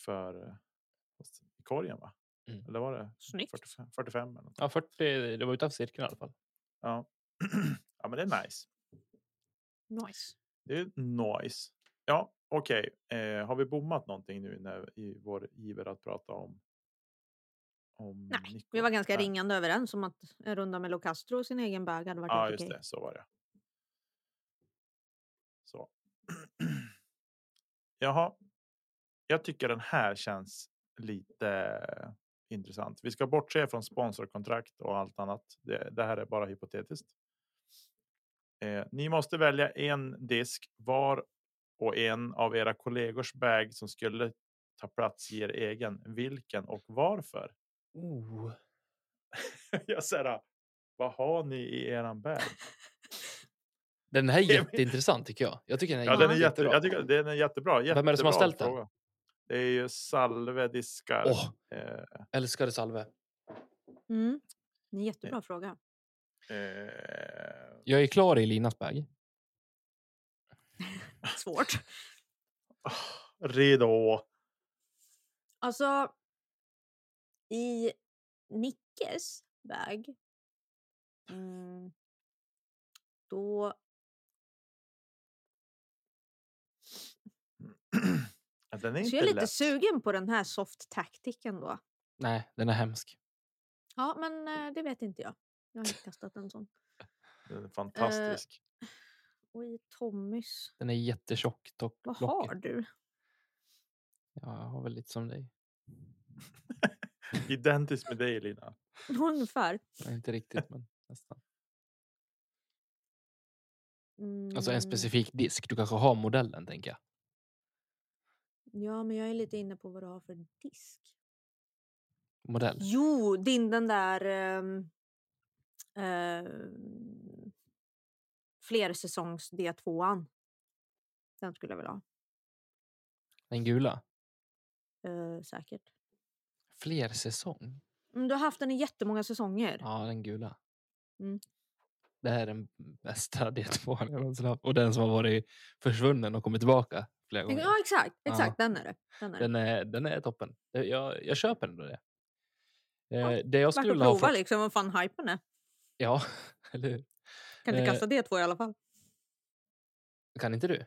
S1: För. eh, i Korgen va?
S2: Mm.
S1: Eller var det
S3: Snyggt.
S1: 45, 45 eller något?
S2: Ja, 40, det var utanför cirkeln i alla fall.
S1: Ja. ja, men det är nice.
S3: Nice.
S1: Det är nice. Ja, okej. Eh, har vi bommat någonting nu när, i vår iver att prata om? om
S3: Nej,
S1: Nico?
S3: vi var ganska
S1: Nej.
S3: ringande överens om att en runda med Locastro och sin egen bag hade varit
S1: Ja,
S3: helt
S1: just
S3: okej.
S1: det. Så var det. Så. Jaha. Jag tycker den här känns lite intressant. Vi ska bortse från sponsorkontrakt och allt annat. Det, det här är bara hypotetiskt. Eh, ni måste välja en disk var och en av era kollegors bag som skulle ta plats i er egen. Vilken och varför?
S2: Oh.
S1: jag säger, "Ah, vad har ni i eran bag?
S2: Den här är
S1: Ge mig-
S2: jätteintressant tycker jag. Jag tycker den är,
S1: Ja, den är, jätte,
S2: jättebra.
S1: jag tycker, den är jättebra. jättebra
S2: Vem är det som har ställt den?
S1: fråga. Det är ju Salve Diskar.
S2: Åh,
S1: Eh,
S2: älskade Salve.
S3: Mm. En jättebra fråga.
S1: eh,
S2: Jag är klar i Linas bag.
S3: Svårt.
S1: ah, ridå.
S3: Alltså, i Nickes bag, mm, då...
S1: Ja, Den är
S3: Så
S1: inte
S3: jag är lite
S1: lätt.
S3: sugen på den här soft tacticen då.
S2: Nej, den är hemsk.
S3: Ja, men eh, det vet inte jag. Jag har inte kastat en sån.
S2: Eh.
S1: Den är fantastisk.
S3: Och i Tommys,
S2: Den är jättetjock. Tock,
S3: vad
S2: locket.
S3: har du?
S2: Ja, jag har väl lite som dig.
S1: Identisk med dig Lina.
S3: Ungefär.
S2: Ja, Inte riktigt, men nästan. Alltså en
S3: Mm,
S2: specifik disk. Du kanske har modellen, tänker jag.
S3: Ja, men jag är lite inne på vad du har för disk.
S2: Modell.
S3: Mm. Jo, din den där... ehm, eh, flersäsongs D2an. Den skulle jag vilja ha.
S2: Den gula.
S3: eh, säkert.
S2: Fler säsong.
S3: Mm, du har haft den i jättemånga säsonger.
S2: Ja, den gula.
S3: Mm.
S2: Det här är den bästa D2 jag någonsin haft. Och den som har varit försvunnen och kommit tillbaka flera
S3: Ja,
S2: gånger.
S3: exakt.
S2: Ja.
S3: Exakt, den är det. Den är det.
S2: Den är, den är toppen. Jag- Jag, jag köper ändå det.
S3: Ja,
S2: Eh, det jag
S3: Värt
S2: skulle
S3: att
S2: vilja ha
S3: prova
S2: från...
S3: liksom vad fan hypen är.
S2: Ja, eller hur?
S3: Kan inte
S2: Eh.
S3: kasta D2 i alla fall.
S2: Kan inte du?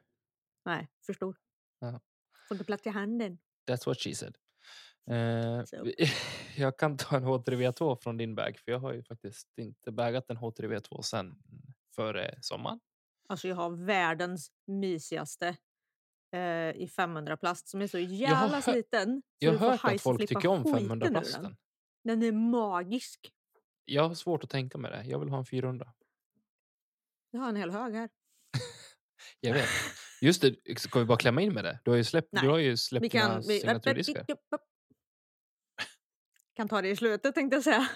S3: Nej, för stor.
S2: Ja.
S3: Får inte plats i handen.
S2: That's what she said. Eh,
S3: So.
S2: vi- jag kan ta en H3V2 från din bag. För jag har ju faktiskt inte bagat en H3V2 sen före sommaren.
S3: Alltså jag har världens mysigaste eh, i 500 plast som är så
S2: har
S3: jävla
S2: hö-
S3: sliten. så
S2: Jag
S3: du får
S2: har hört att
S3: hajs-
S2: folk
S3: flippa
S2: tycker om
S3: skiten ur
S2: 500
S3: den.
S2: plasten.
S3: Den är magisk.
S2: Jag har svårt att tänka mig det. Jag vill ha en 400.
S3: Jag har en hel hög här.
S2: Jag vet. Just det, ska vi bara klämma in med det? Du har ju släppt,
S3: Nej.
S2: du har ju släppt
S3: Vi
S2: dina
S3: kan, vi,
S2: signaturdiskar.
S3: kan ta det i slutet tänkte jag säga.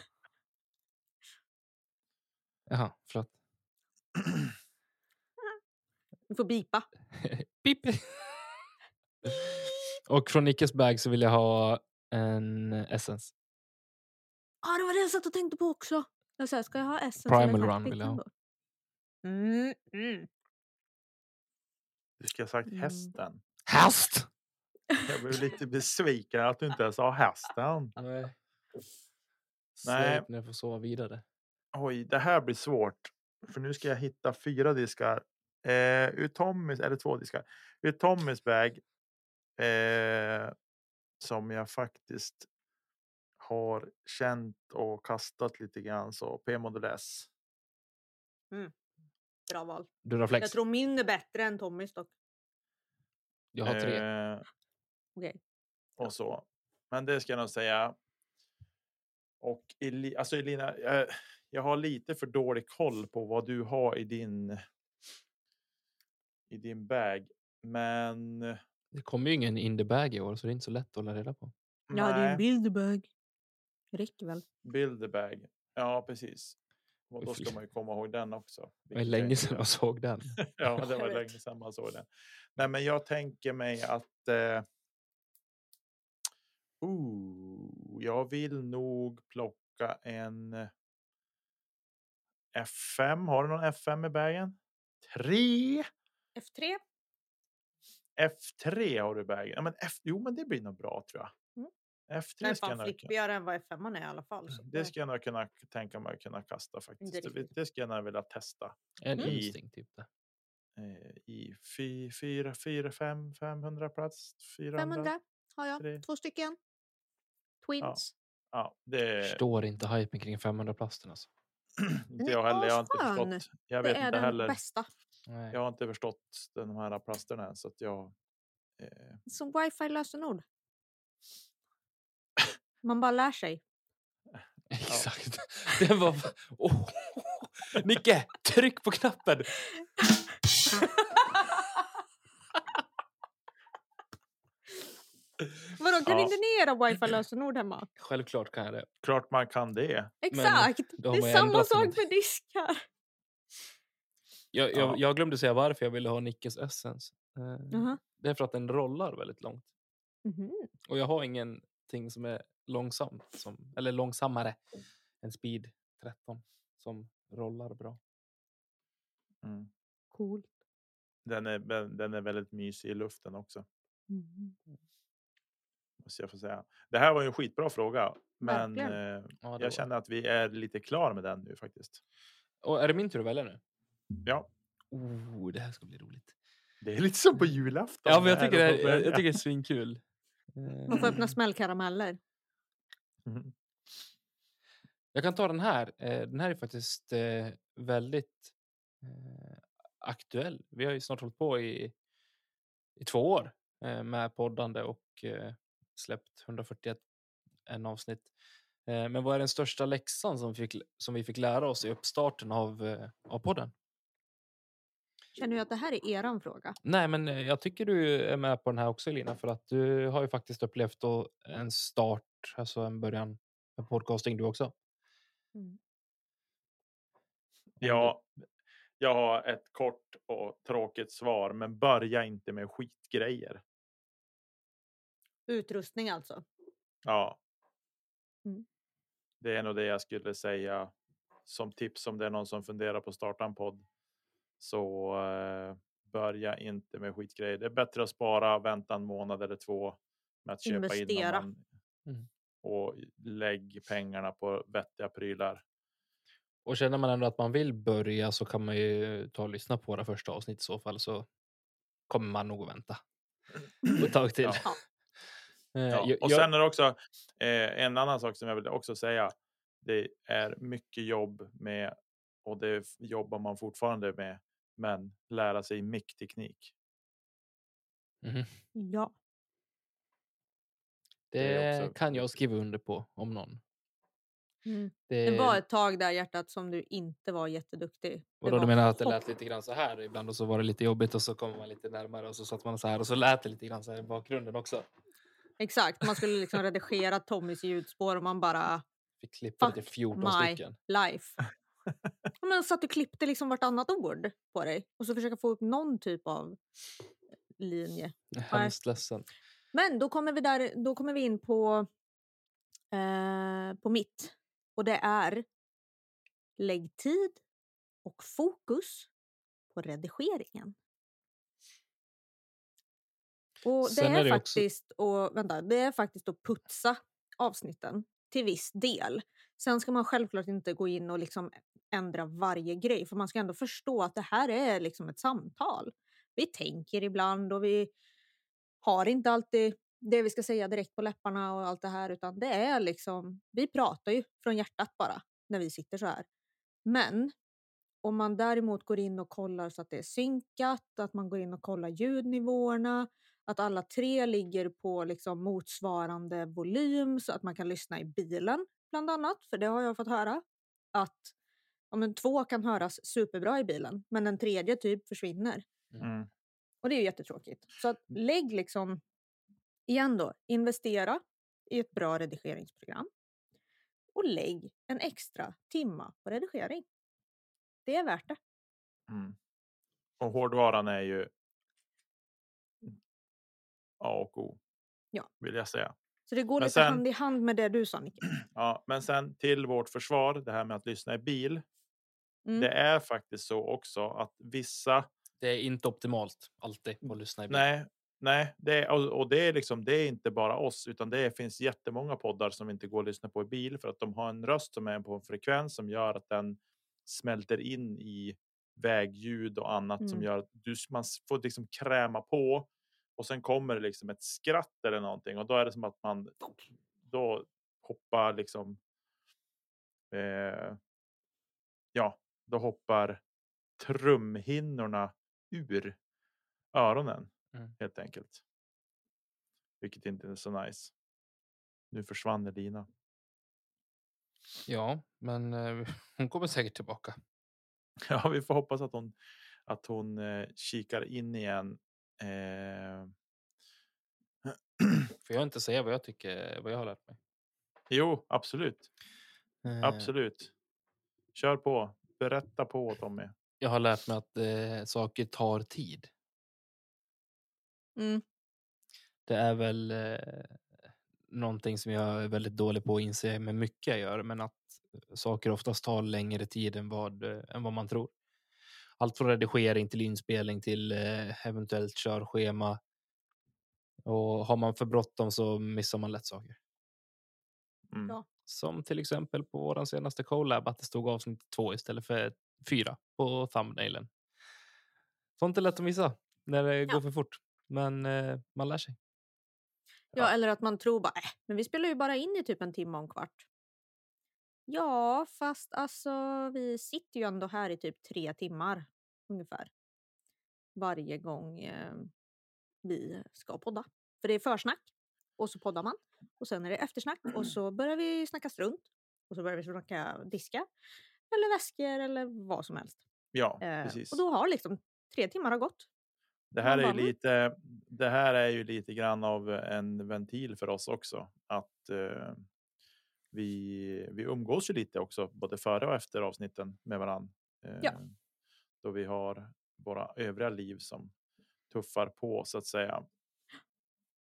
S2: Jaha, förlåt.
S3: Vi får bipa.
S2: Pip. Och från Nickes bag så vill jag ha en Essence.
S3: Ja, ah, det var det jag satt och tänkte på också. Jag sa, ska jag ha Essence
S2: Primal
S3: eller
S2: Run
S3: Tactics
S2: vill jag ha.
S3: ändå? Mm, mm.
S1: Du ska ha sagt
S3: Mm.
S1: hästen.
S2: Häst!
S1: Jag blev lite besviken att du inte ens sa hästen.
S2: Nej.
S1: Nej.
S2: När jag får sova vidare.
S1: Oj, det här blir svårt. För nu ska jag hitta fyra diskar. Eh, ur Tommys, eller två diskar. Ur Tommys bag. Eh, som jag faktiskt har känt och kastat lite grann. Så P-modell S.
S3: Bra val.
S2: Du reflex.
S3: Jag tror min är bättre än Tommys dock.
S2: jag har tre.
S1: Eh,
S3: Okej.
S1: Och så. Men det ska jag nog säga. Och Eli, alltså Elina, jag, jag har lite för dålig koll på vad du har i din. I din bag, men.
S2: Det kommer ju ingen in the bag i år så det är inte så lätt att hålla reda på.
S3: Jag hade ju en
S1: nej,
S3: Bilderberg. Räcker väl?
S1: build the bag. Ja, precis. Och
S2: Oj,
S1: då
S2: fy.
S1: ska man ju komma ihåg den också.
S2: Det var
S1: vilket jag
S2: länge
S1: inte
S2: sedan
S1: gör.
S2: jag såg den.
S1: Ja, det
S3: Jag
S1: var
S3: vet.
S1: länge sedan man såg den. Nej, men jag tänker mig att. Eh, ooh, jag vill nog plocka en. F5. Har du någon F5 i bagen? 3.
S3: F3.
S1: F3 har du i bagen. Ja, men F, jo, men det blir nog bra tror jag.
S3: Mm.
S1: F3 ska jag nog kunna-
S3: än vad F5 är i alla fall.
S1: Mm, det ska jag nog kunna tänka mig att kunna kasta faktiskt. Det,
S3: Mm, riktigt.
S1: det ska jag nog vilja testa.
S2: En
S1: Mm.
S2: instinkt typ. Där.
S1: Eh, I 4, 4, 5, 500 plats. 400.
S3: 500 har jag.
S1: tre.
S3: Två stycken. Twins.
S1: Ja, det
S2: Förstår inte hypen kring 500 plasten alltså.
S1: inte
S3: är
S1: jag heller. Jag har inte
S3: asskön.
S1: förstått. Jag
S3: det
S1: vet
S3: är
S1: inte
S3: den
S1: heller.
S3: bästa.
S2: Nej.
S1: Jag har inte förstått de här plasterna än, så att jag. Eh,
S3: Som wifi-lösenord. Man bara lär sig.
S2: Exakt. Den var... Oh. Nicke, tryck på knappen!
S3: Vadå, kan
S1: Ja.
S3: inte ni era wifi-lösenord hemma?
S2: Självklart kan jag det.
S1: Klart man kan det.
S3: Exakt!
S2: då har
S3: det
S2: man
S3: är
S2: ju
S3: samma
S2: ändrat
S3: sak
S2: någonting.
S3: med diskar.
S2: Jag,
S1: Ja.
S2: jag, jag glömde säga varför jag ville ha Nickes Essence. Eh,
S3: Jaha.
S2: Det är för att den rollar väldigt långt.
S3: Mhm.
S2: Och jag har ingenting som är långsamt, som, eller långsammare än Speed 13 som rollar bra.
S1: Mm.
S3: Cool.
S1: Den, är, den- den är väldigt mysig i luften också.
S2: Mm.
S3: Mhm.
S1: Måste jag få säga. Det här var ju en skitbra fråga. Men
S3: Verkligen.
S1: eh,
S2: Ja, det var-
S1: jag känner att vi är lite klar med den nu faktiskt.
S2: Och är det min tur att välja nu?
S1: Ja,
S2: Oh, det här ska bli roligt.
S1: det är lite som på julafton.
S2: Mm. Ja, men jag
S1: här
S2: tycker
S1: och
S2: det,
S1: få
S2: är, jag
S1: välja.
S2: tycker det är svinkul.
S3: Man får
S2: Eh,
S3: öppna smällkarameller.
S1: Mhm.
S2: Jag kan ta den här. Eh, Den här är faktiskt eh, väldigt eh, aktuell. Vi har ju snart hållit på i, i två år eh, med poddande och eh, släppt 141 en avsnitt. Eh, Men vad är den största läxan som, fick, som vi fick lära oss i uppstarten av, eh, av podden?
S3: Känner ju att det här är eran fråga.
S2: Nej, men eh, jag tycker du är med på den här också Elina, för att du har ju faktiskt upplevt då en start, alltså en början med podcasting du också.
S1: Ja, jag har ett kort och tråkigt svar, men börja inte med skitgrejer.
S3: Utrustning alltså.
S1: Ja.
S3: Mm.
S1: Det är nog det jag skulle säga som tips om det är någon som funderar på att starta en podd. Så eh, börja inte med skitgrejer. Det är bättre att spara, vänta en månad eller två med att köpa in. om
S3: Investera.
S1: Man,
S2: Mm.
S1: Och lägg pengarna på vettiga prylar.
S2: Och känner man ändå att man vill börja så kan man ju ta och lyssna på våra första avsnitt i så fall så kommer man nog att vänta ett tag till.
S1: Ja.
S2: Eh,
S1: Ja.
S2: jag-
S1: Och
S2: jag-
S1: sen är det också eh, en annan sak som jag vill också säga. Det är mycket jobb med och det f- jobbar man fortfarande med. Men lära sig mickteknik.
S2: Mhm.
S3: Ja.
S2: Det,
S1: är också-
S2: kan jag skriva under på om någon.
S3: Mm.
S2: Det,
S3: Det var ett tag där hjärtat som du inte var jätteduktig. Det
S2: vadå, du
S3: var
S2: menar att det
S3: hopp.
S2: lät lite grann så här ibland och så var det lite jobbigt och så kom man lite närmare och så satt man så här och så lät det lite grann så här i bakgrunden också.
S3: Exakt, man skulle liksom redigera Tommys ljudspår och man bara
S2: Fick klippa det till
S3: Fuck
S2: 14
S3: my
S2: stycken.
S3: life. Ja, Men så att du klippte liksom vartannat ord på dig och så försöka få upp någon typ av eh, linje.
S2: Jag är Hemskt ledsen.
S3: Men då kommer vi, där, då kommer vi in på, eh, på mitt. Och det är lägg tid och fokus på redigeringen. Och det
S2: Sen
S3: är,
S2: är det också-
S3: faktiskt att, vänta, det är faktiskt att putsa avsnitten till viss del. Sen ska man självklart inte gå in och liksom ändra varje grej för man ska ändå förstå att det här är liksom ett samtal. Vi tänker ibland och vi har inte alltid det vi ska säga direkt på läpparna och allt det här utan det är liksom, vi pratar ju från hjärtat bara när vi sitter så här. Men om man däremot går in och kollar så att det är synkat, att man går in och kollar ljudnivåerna, att alla tre ligger på liksom motsvarande volym så att man kan lyssna i bilen bland annat, för det har jag fått höra. Att ja, men två kan höras superbra i bilen men den tredje typ försvinner.
S1: Mm.
S3: Och det är ju jättetråkigt. Så att lägg liksom, igen då, investera i ett bra redigeringsprogram. Och lägg en extra timma på redigering. Det är värt det.
S1: Mm. Och hårdvaran är ju A och O.
S3: Ja.
S1: Vill jag säga.
S3: Så det går
S1: Men
S3: lite
S1: sen-
S3: hand i hand med det du sa Nicke.
S1: Ja, men sen till vårt försvar, det här med att lyssna i bil.
S3: Mm.
S1: Det är faktiskt så också att vissa
S2: Det är inte optimalt alltid att lyssna i bil.
S1: Nej, nej det, är- och, och det är liksom det är inte bara oss, utan det finns jättemånga poddar som inte går att lyssna på i bil för att de har en röst som är på en frekvens som gör att den smälter in i vägljud och annat som
S3: Mm.
S1: gör att du, man s- får liksom kräma på och sen kommer det liksom ett skratt eller någonting och då är det som att man då hoppar liksom. Eh, ja, då hoppar trumhinnorna ur öronen
S2: Mm.
S1: helt enkelt. Vilket inte är så nice. Nu försvann Elina.
S2: Ja, men eh, hon kommer säkert tillbaka.
S1: Ja, vi får hoppas att hon att hon eh, kikar in igen. Eh,
S2: För Får jag inte säga vad jag tycker, vad jag har lärt mig?
S1: Jo, absolut.
S2: Eh,
S1: Absolut. Kör på. Berätta på Tommy.
S2: Jag har lärt mig att eh, saker tar tid.
S3: Mm.
S2: Det är väl eh, någonting som jag är väldigt dålig på att inse med mycket jag gör, men att saker oftast tar längre tid än vad, eh, än vad man tror. Allt från redigering till inspelning till eh, eventuellt körschema. Och har man för bråttom så missar man lätt saker.
S1: Mm.
S3: Bra.
S2: Som till exempel på vår senaste collab att det stod avsnitt två istället för fyra på thumbnailen. Sånt är lätt att missa när det går för fort. Men eh, man lär sig.
S3: Ja, eller att man tror bara, äh, men vi spelar ju bara in i typ en timme och en kvart. Ja, fast alltså vi sitter ju ändå här i typ tre timmar ungefär. Varje gång eh, vi ska podda. För det är försnack och så poddar man. Och sen är det eftersnack och så börjar vi snacka strunt. Och så börjar vi snacka diska. Eller väskor eller vad som helst.
S1: Ja,
S3: Eh,
S1: precis.
S3: och då har liksom tre timmar har gått.
S1: Det här,
S3: Man
S1: är
S3: bara,
S1: ju lite, det här är ju lite grann av en ventil för oss också. Att eh, vi, vi umgås ju lite också, både före och efter avsnitten med varann. Eh,
S3: Ja.
S1: Då vi har våra övriga liv som tuffar på så att säga.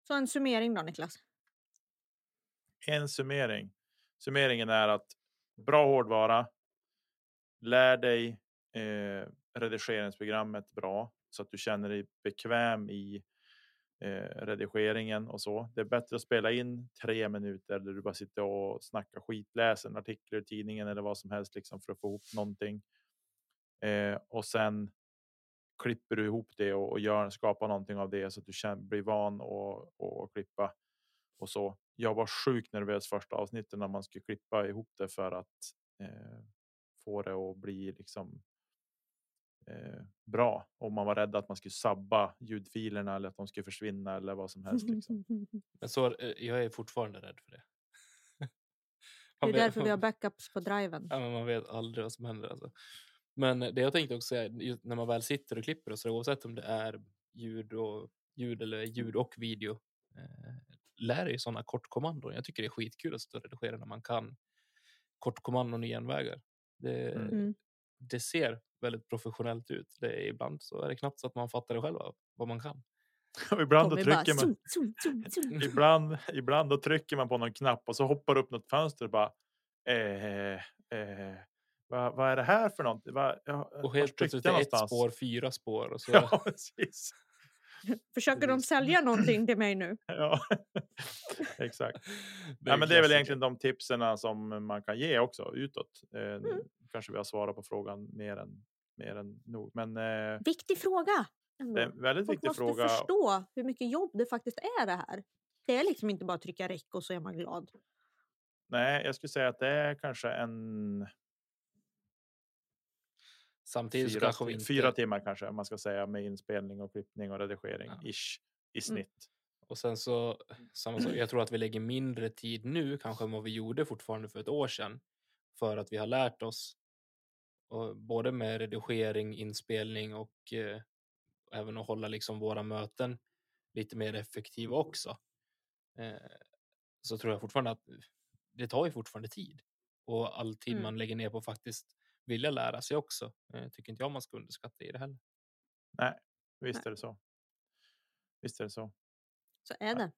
S3: Så en summering då Niklas.
S1: En summering. Summeringen är att bra hårdvara. Lär dig eh, redigeringsprogrammet bra så att du känner dig bekväm i eh, redigeringen och så. Det är bättre att spela in tre minuter där du bara sitter och snackar skit, läser en artikel ur tidningen eller vad som helst liksom för att få ihop någonting. Eh, och sen klipper du ihop det och, och gör, skapar någonting av det så att du känner, blir van och, och, och klippa och så. Jag var sjukt nervös första avsnitten när man skulle klippa ihop det för att eh, få det att bli liksom eh, bra. Om man var rädd att man skulle sabba ljudfilerna eller att de skulle försvinna eller vad som helst. Liksom.
S2: Men så, eh, jag är fortfarande rädd för det.
S3: Det är
S2: Man vet-
S3: därför vi har backups på driven.
S2: Ja, men man vet aldrig vad som händer. Alltså. Men det jag tänkte också är just när man väl sitter och klipper och så oavsett om det är ljud och ljud eller ljud och video. Eh, lär dig sådana kortkommandon. Jag tycker det är skitkul att stå och redigera när man kan kortkommandon i genvägar. Det,
S1: Mm.
S3: Mm.
S2: det ser väldigt professionellt ut. Det är, ibland så är det knappt så att man fattar det själv vad man kan.
S1: Och ibland, då
S3: Tommy bara,
S1: trycker man, Mm.
S3: zoom, zoom, zoom, zoom.
S1: ibland, ibland då trycker man på någon knapp och så hoppar upp något fönster och bara eh, eh, vad, vad är det här för något? Vad, ja,
S2: Och
S1: vart tryckte
S2: helt plötsligt
S1: jag
S2: är det ett
S1: någonstans?
S2: spår fyra spår. Och så,
S1: Ja, precis.
S3: Försöker de
S2: Precis.
S3: sälja någonting till mig nu?
S1: Ja, exakt.
S2: är
S1: Nej,
S2: en
S1: men det är väl
S2: klassiker.
S1: egentligen de tipsen eh, som man kan ge också utåt. Eh,
S2: Mm.
S1: nu Kanske vi har svarat på frågan mer än, mer än nog. Men eh,
S3: Viktig fråga! ändå.
S1: det är en väldigt
S3: Folk
S1: viktig
S3: måste
S1: fråga.
S3: förstå hur mycket jobb det faktiskt är det här. Det är liksom inte bara att trycka räck och så är man glad.
S1: Nej, jag skulle säga att det är kanske en
S2: Samtidigt så
S1: fyra,
S2: kanske vi inte...
S1: fyra timmar kanske om man ska säga med inspelning och klippning och redigering
S2: Ja. Mm.
S1: ish i snitt.
S2: Och sen så, samma sak, jag tror att vi lägger mindre tid nu kanske än vad vi gjorde fortfarande för ett år sedan. För att vi har lärt oss, och både med redigering, inspelning och eh, även att hålla liksom våra möten lite mer effektiva också. Eh, så tror jag fortfarande att det tar ju fortfarande tid. Och all tid
S3: Mm.
S2: man lägger ner på att faktiskt vilja lära sig också. Eh, tycker inte jag man ska underskatta i det heller.
S1: Visst är
S3: Nej.
S1: det så. Visst är det så.
S3: Så är det.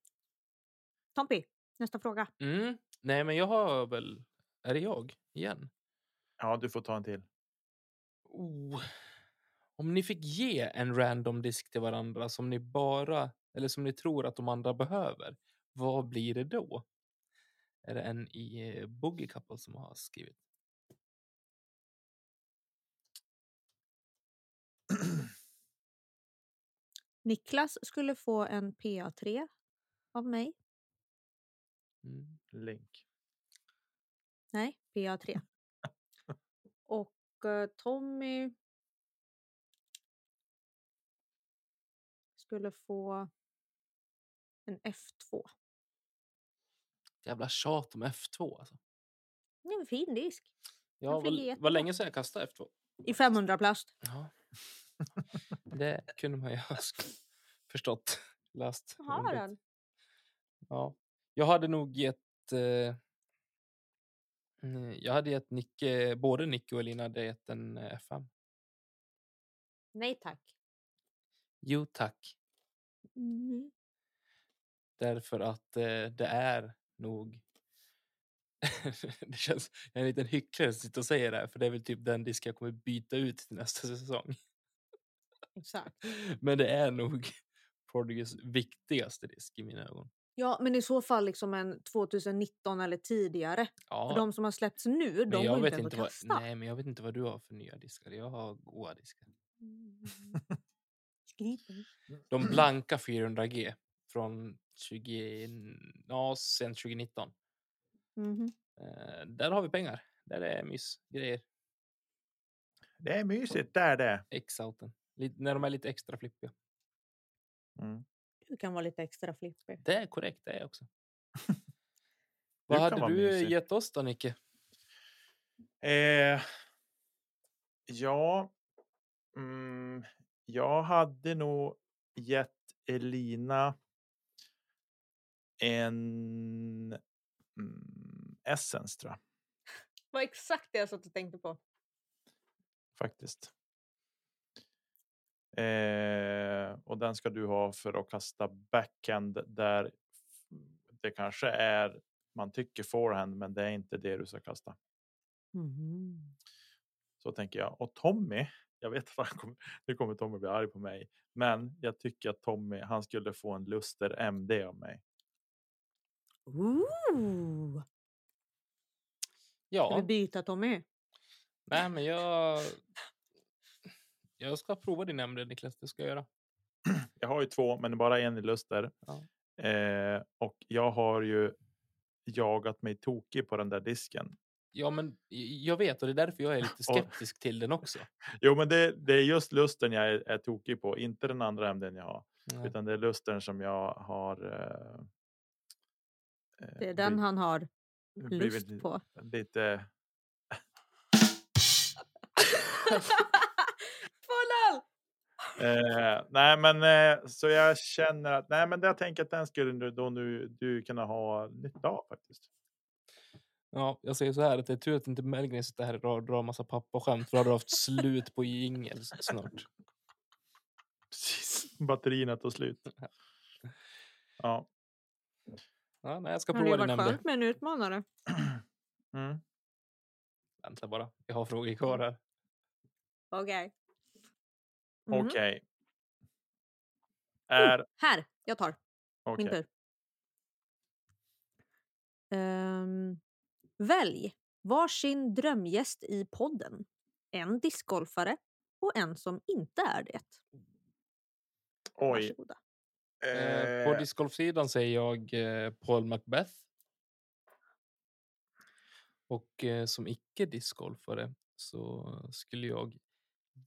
S3: Tompi, nästa fråga.
S2: Mm. Nej, men jag har väl, är det jag igen?
S1: Ja, du får ta en till.
S2: Oh. Om ni fick ge en random disk till varandra som ni bara eller som ni tror att de andra behöver, vad blir det då? Är det en i eh, Boogie Couple som har skrivit?
S3: Niklas skulle få en PA3 av mig.
S2: Mm.
S1: Link.
S3: Nej, PA3. Och eh, Tommy skulle få en F2.
S2: Jävla tjat om F2 alltså.
S3: Det är en fin disk.
S2: Ja,
S3: flyger
S2: var,
S3: jättebra.
S2: var länge sedan jag kastade F2.
S3: I 500 plast.
S2: Ja. Det kunde man ju ha sk- förstått. Läst.
S3: Har
S2: undvik.
S3: den?
S2: Ja. Jag hade nog gett... Eh, mm, jag hade gett Nicke, både Nicke och Elina hade gett en eh, F5.
S3: Nej tack.
S2: Jo tack.
S3: Mm.
S2: Därför att eh, det är nog... det känns, jag är en liten hycklare som sitter och säger det här, för det är väl typ den disk jag kommer byta ut till nästa säsong.
S3: Exakt.
S2: Men det är nog Prodigys viktigaste disk i mina ögon.
S3: Ja, men i så fall liksom en 2019 eller tidigare.
S2: Ja,
S3: För de som har släppts nu,
S2: men
S3: de
S2: jag
S3: går
S2: vet
S3: inte ens
S2: inte
S3: att
S2: vad,
S3: kasta.
S2: nej, men jag vet inte vad du har för nya diskar. Jag har goa diskar.
S3: Mm. Skryter. Mm.
S2: De blanka 400G från 20, ja, sen 2019.
S3: Mhm.
S2: Eh, där har vi pengar. Där är mysgrejer.
S1: Det är mysigt, det är det.
S2: X-outen. Lite- När de är lite extra flippiga.
S1: Mm.
S3: Du kan vara lite extra flippig.
S2: Det är korrekt, det är jag också.
S1: Du
S2: Vad
S1: kan vara
S2: hade du
S1: mysig.
S2: gett oss då, Nicke?
S1: Eh, ja, mm, jag hade nog gett Elina en mm, Essence, tror jag,
S3: Det var exakt det jag satt och tänkte på.
S1: faktiskt. Eh, och den ska du ha för att kasta backhand där f- det kanske är man tycker forehand, men det är inte det du ska kasta.
S3: Mm-hmm.
S1: Så tänker jag. Och Tommy, jag vet att han kommer, nu kommer Tommy bli arg på mig, men jag tycker att Tommy, han skulle få en Luster MD av mig.
S3: Ooh. Ska vi
S2: Ja,
S3: byta Tommy?
S2: nej men jag... Jag ska prova din nämnd, Niklas. Det ska jag göra.
S1: Jag har ju två, men bara en i Luster.
S2: Ja.
S1: Eh, och jag har ju jagat mig tokig på den där disken.
S2: Ja, men j- jag vet och det är därför jag är lite
S1: Och-
S2: skeptisk till den också.
S1: Jo, men det, det är just Lusten jag är, är tokig på, inte den andra MDn jag har,
S2: Nej.
S1: utan det är Lustern som jag har. Eh, eh,
S3: Det är den han har
S1: bli-
S3: lust
S1: blivit
S3: på.
S1: Lite.
S3: Två öl!
S1: Eh, nej, men eh, så jag känner att nej, men jag tänker att den skulle du då nu du kunna ha nytta av faktiskt.
S2: Ja, jag säger så här att det är tur att inte Melgren sitter här och drar- drar massa pappaskämt för då hade du haft slut på jingel s- snart.
S1: Precis. Batterierna tar slut. Ja.
S2: Ja, nej, jag ska
S3: Det hade ju
S2: prova din
S3: varit
S2: nämnd.
S3: skönt med en utmanare.
S1: Mm.
S2: Vänta bara, jag har frågor kvar här.
S3: Okej. Mhm.
S1: Okej. Är
S3: Oh, Här, jag tar.
S1: okej.
S3: Min tur. Ehm, välj varsin drömgäst i podden. En discgolfare och en som inte är det.
S1: Oj.
S3: Varsågoda.
S2: Eh, på
S1: Eh,
S2: discgolfsidan säger jag eh, Paul Macbeth. Och eh, som icke discgolfare så skulle jag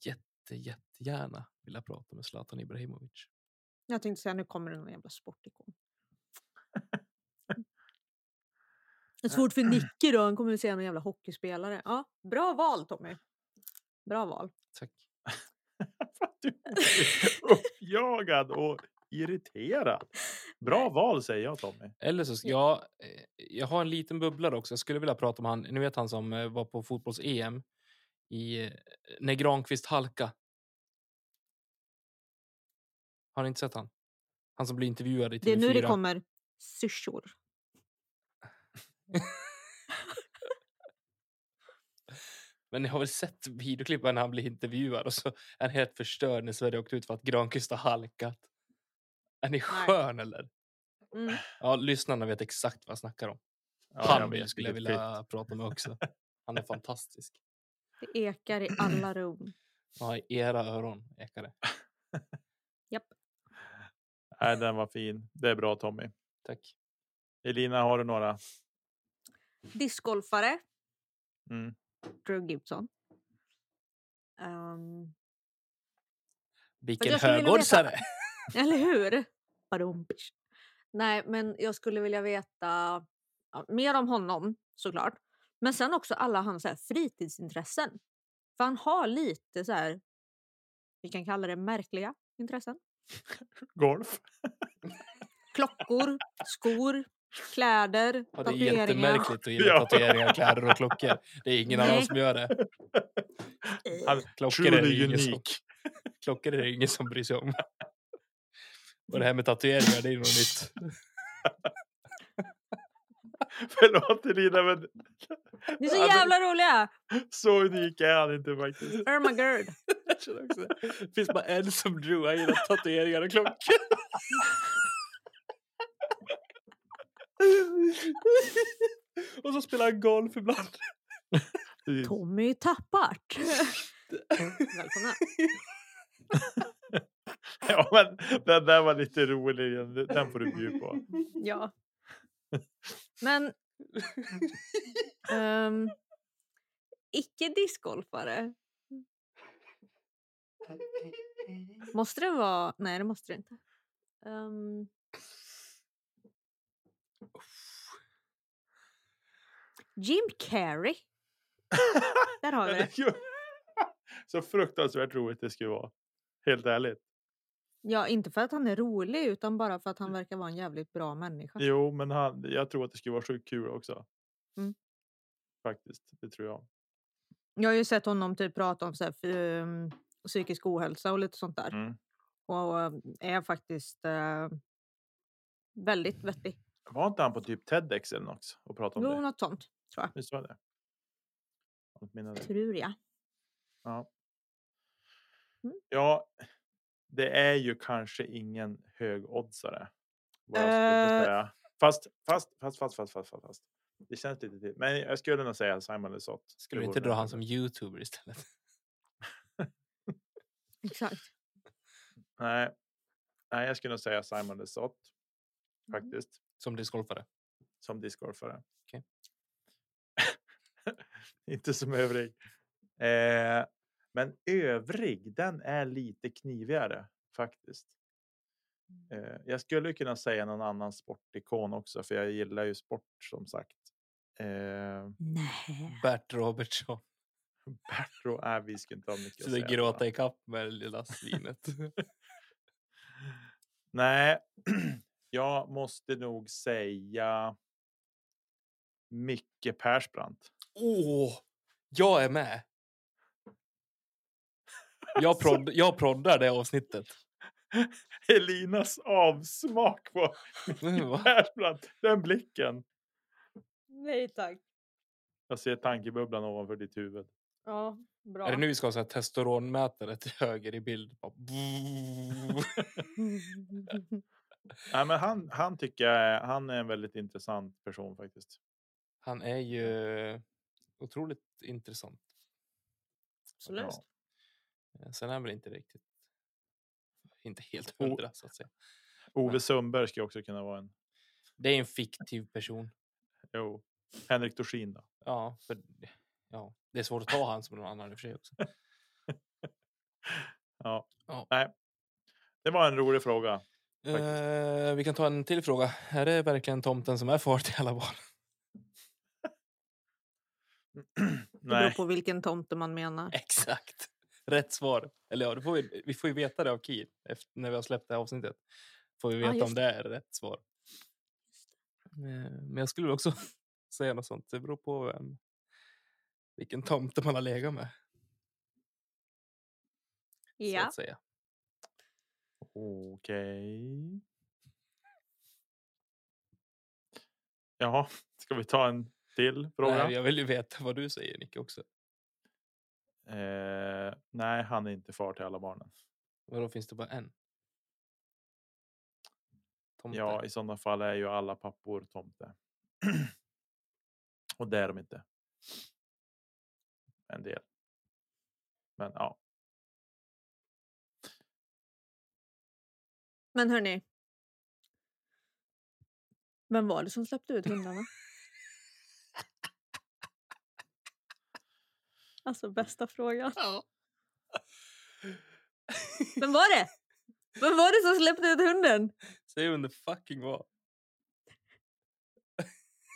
S2: jätte, jättegärna vilja prata med Zlatan Ibrahimovic.
S3: Jag tänkte säga nu kommer det någon jävla sportikon. Det är svårt
S1: Eh.
S3: för Nicke då, han kommer att säga någon jävla hockeyspelare. Ja, bra val Tommy. Bra val.
S2: Tack.
S1: fan, du är uppjagad och irriterad. Bra val säger jag Tommy.
S2: Eller så, ska jag, eh, jag har en liten bubblare också. Jag skulle vilja prata om han, ni vet han som eh, var på fotbolls-EM i, eh, när Granqvist halka. Har ni inte sett han? Han som blir intervjuad i TV4.
S3: Det är nu det kommer syrsor.
S2: Men ni har väl sett videoklippen när han blir intervjuad och så är han helt förstörd när Sverige åkte ut för att Granqvist har halkat. Är ni skön eller?
S3: Mm.
S2: Ja, lyssnarna vet exakt vad jag snackar om.
S1: Ja,
S2: han
S1: jag vet
S2: skulle jag
S1: vilket
S2: vilja prata med också. Han är fantastisk.
S3: Det ekar i alla rum.
S2: Ja, i era öron ekar det.
S1: fytt. Nej, den var fin. Det är bra Tommy.
S2: Tack.
S1: Elina, har du några?
S3: Discgolfare.
S1: Mm.
S3: Drew Gibson. Ehm,
S2: Vilken
S3: jag skulle vilja veta-
S2: högoddsare!
S3: eller hur? Badumpish. Nej, men jag skulle vilja veta ja, mer om honom såklart. Men sen också alla hans så här, fritidsintressen. För han har lite så här, vi kan kalla det märkliga intressen.
S1: Golf?
S3: klockor, skor, kläder,
S2: Ja, det är
S3: tatueringar.
S2: jättemärkligt att gilla
S1: Ja.
S2: tatueringar, kläder och klockor. Det är ingen annan
S3: Nej.
S2: som gör det.
S1: Han,
S2: Klockor är,
S1: truly
S2: det ingen som,
S1: unik.
S2: klockor är det ingen som bryr sig om. Och det här med tatueringar, det är ju något nytt.
S1: Förlåt Elina, men
S3: Ni är så
S1: Ja,
S2: Alltså-
S1: men-
S3: jävla roliga!
S1: så unik är han inte faktiskt.
S3: Irma Gerd.
S2: Jag känner också det. Det finns bara en som Drew, han gillar tatueringar och klockor. och så spelar han golf ibland.
S1: Precis.
S3: Tommy Tappart. Välkomna.
S1: Ja, men den där var lite rolig. Den- Den får du bjuda på.
S3: Ja. Men... ehm, Icke-discgolfare. Måste det vara... Nej, det måste det inte. Ehm, Jim Carrey. Där har vi
S1: Men
S3: det.
S1: det gör- Så fruktansvärt roligt det skulle vara. Helt ärligt.
S3: Ja, inte för att han är rolig utan bara för att han verkar vara en jävligt bra människa.
S1: Jo, men han, jag tror att det skulle vara sjukt kul också.
S3: Mm.
S1: Faktiskt, det tror jag.
S3: Jag har ju sett honom typ prata om så här, f- ehm, psykisk ohälsa och lite sånt där.
S1: Mm.
S3: Och eh, är faktiskt eh, väldigt vettig.
S1: Var inte han på typ TEDx eller något också och pratade Mm, om
S3: Jo,
S1: det?
S3: något sånt tror
S1: Visst var det? Något minne där.
S3: jag. Tror jag.
S1: Ja.
S3: Mm.
S1: ja, det är ju kanske ingen högoddsare. Vad jag
S3: Eh.
S1: skulle säga. Fast, fast, fast, fast, fast, fast, fast, fast. Det känns lite till. Men jag skulle nog säga Simon Lesoth. Det
S2: Skulle vi
S1: vore
S2: inte
S1: nog
S2: dra han
S1: kanske-
S2: som youtuber istället?
S3: Exakt.
S1: Nej. Nej, jag skulle nog säga Simon Lesoth.
S3: Mm.
S1: Faktiskt.
S2: Som discgolfare.
S1: Som discgolfare.
S2: Okej.
S1: inte som övrig. Eh, men övrig, den är lite knivigare faktiskt.
S2: Mm.
S1: Eh, jag skulle kunna säga någon annan sportikon också, för jag gillar ju sport som sagt. Eh,
S3: Nej.
S2: Bert Robertson.
S1: Bertro, nej, vi skulle inte ha mycket att
S2: Sitter
S1: säga. om
S2: och
S1: han.
S2: gråta ikapp med det lilla svinet.
S1: Nej, jag måste nog säga Micke Persbrandt.
S2: Åh! jag är med! Jag, prod, jag proddar det avsnittet.
S1: Elinas avsmak på
S2: Va?
S1: Persbrandt, den blicken.
S3: Nej tack.
S1: Jag ser tankebubblan ovanför ditt huvud.
S3: Ja, bra.
S2: Är det nu vi ska ha så här testosteronmätare till höger i bild? Bara
S1: Nej, men han, han tycker jag är, han är en väldigt intressant person faktiskt.
S2: Han är ju otroligt intressant. Eh,
S3: Absolut.
S1: Ja.
S2: Sen är han väl inte riktigt... Inte helt
S1: O-
S2: hundra, så att säga.
S1: Ove
S2: Men-
S1: Sundberg skulle också kunna vara en.
S2: Det är en fiktiv person.
S1: Jo. Henrik Dorsin då.
S2: Ja, för, ja, det är svårt att ta han som någon annan i och för sig också.
S1: Ja.
S2: Ja.
S1: Nej. Det var en rolig fråga. Faktiskt.
S2: Eh, vi kan ta en till fråga. Är det verkligen tomten som är far till alla barn?
S3: Det beror
S1: Nej,
S3: på vilken tomte man menar.
S2: Exakt. Rätt svar. Eller ja, det får vi, vi får ju veta det av Kir efter, när vi har släppt det här avsnittet. Får vi
S3: Ja,
S2: veta om
S3: just
S2: det är rätt svar. Eh, Men jag skulle också säga något sånt. Det beror på vem, vilken tomte man har legat med. Så
S3: Ja.
S2: att säga.
S1: okej. Jaha, ska vi ta en till fråga?
S2: Nej, jag vill ju veta vad du säger Nicke också.
S1: Eh, nej, han är inte far till alla barnen.
S2: Vadå finns det bara en? Tomte.
S1: Ja, i sådana fall är ju alla pappor tomte. Och det är de inte. En del. Men ja,
S3: Men hörni. Vem var det som släppte ut hundarna? Alltså bästa frågan.
S2: Ja.
S3: Vem var det? Vem var det som släppte ut hunden?
S2: Säg vem det fucking var.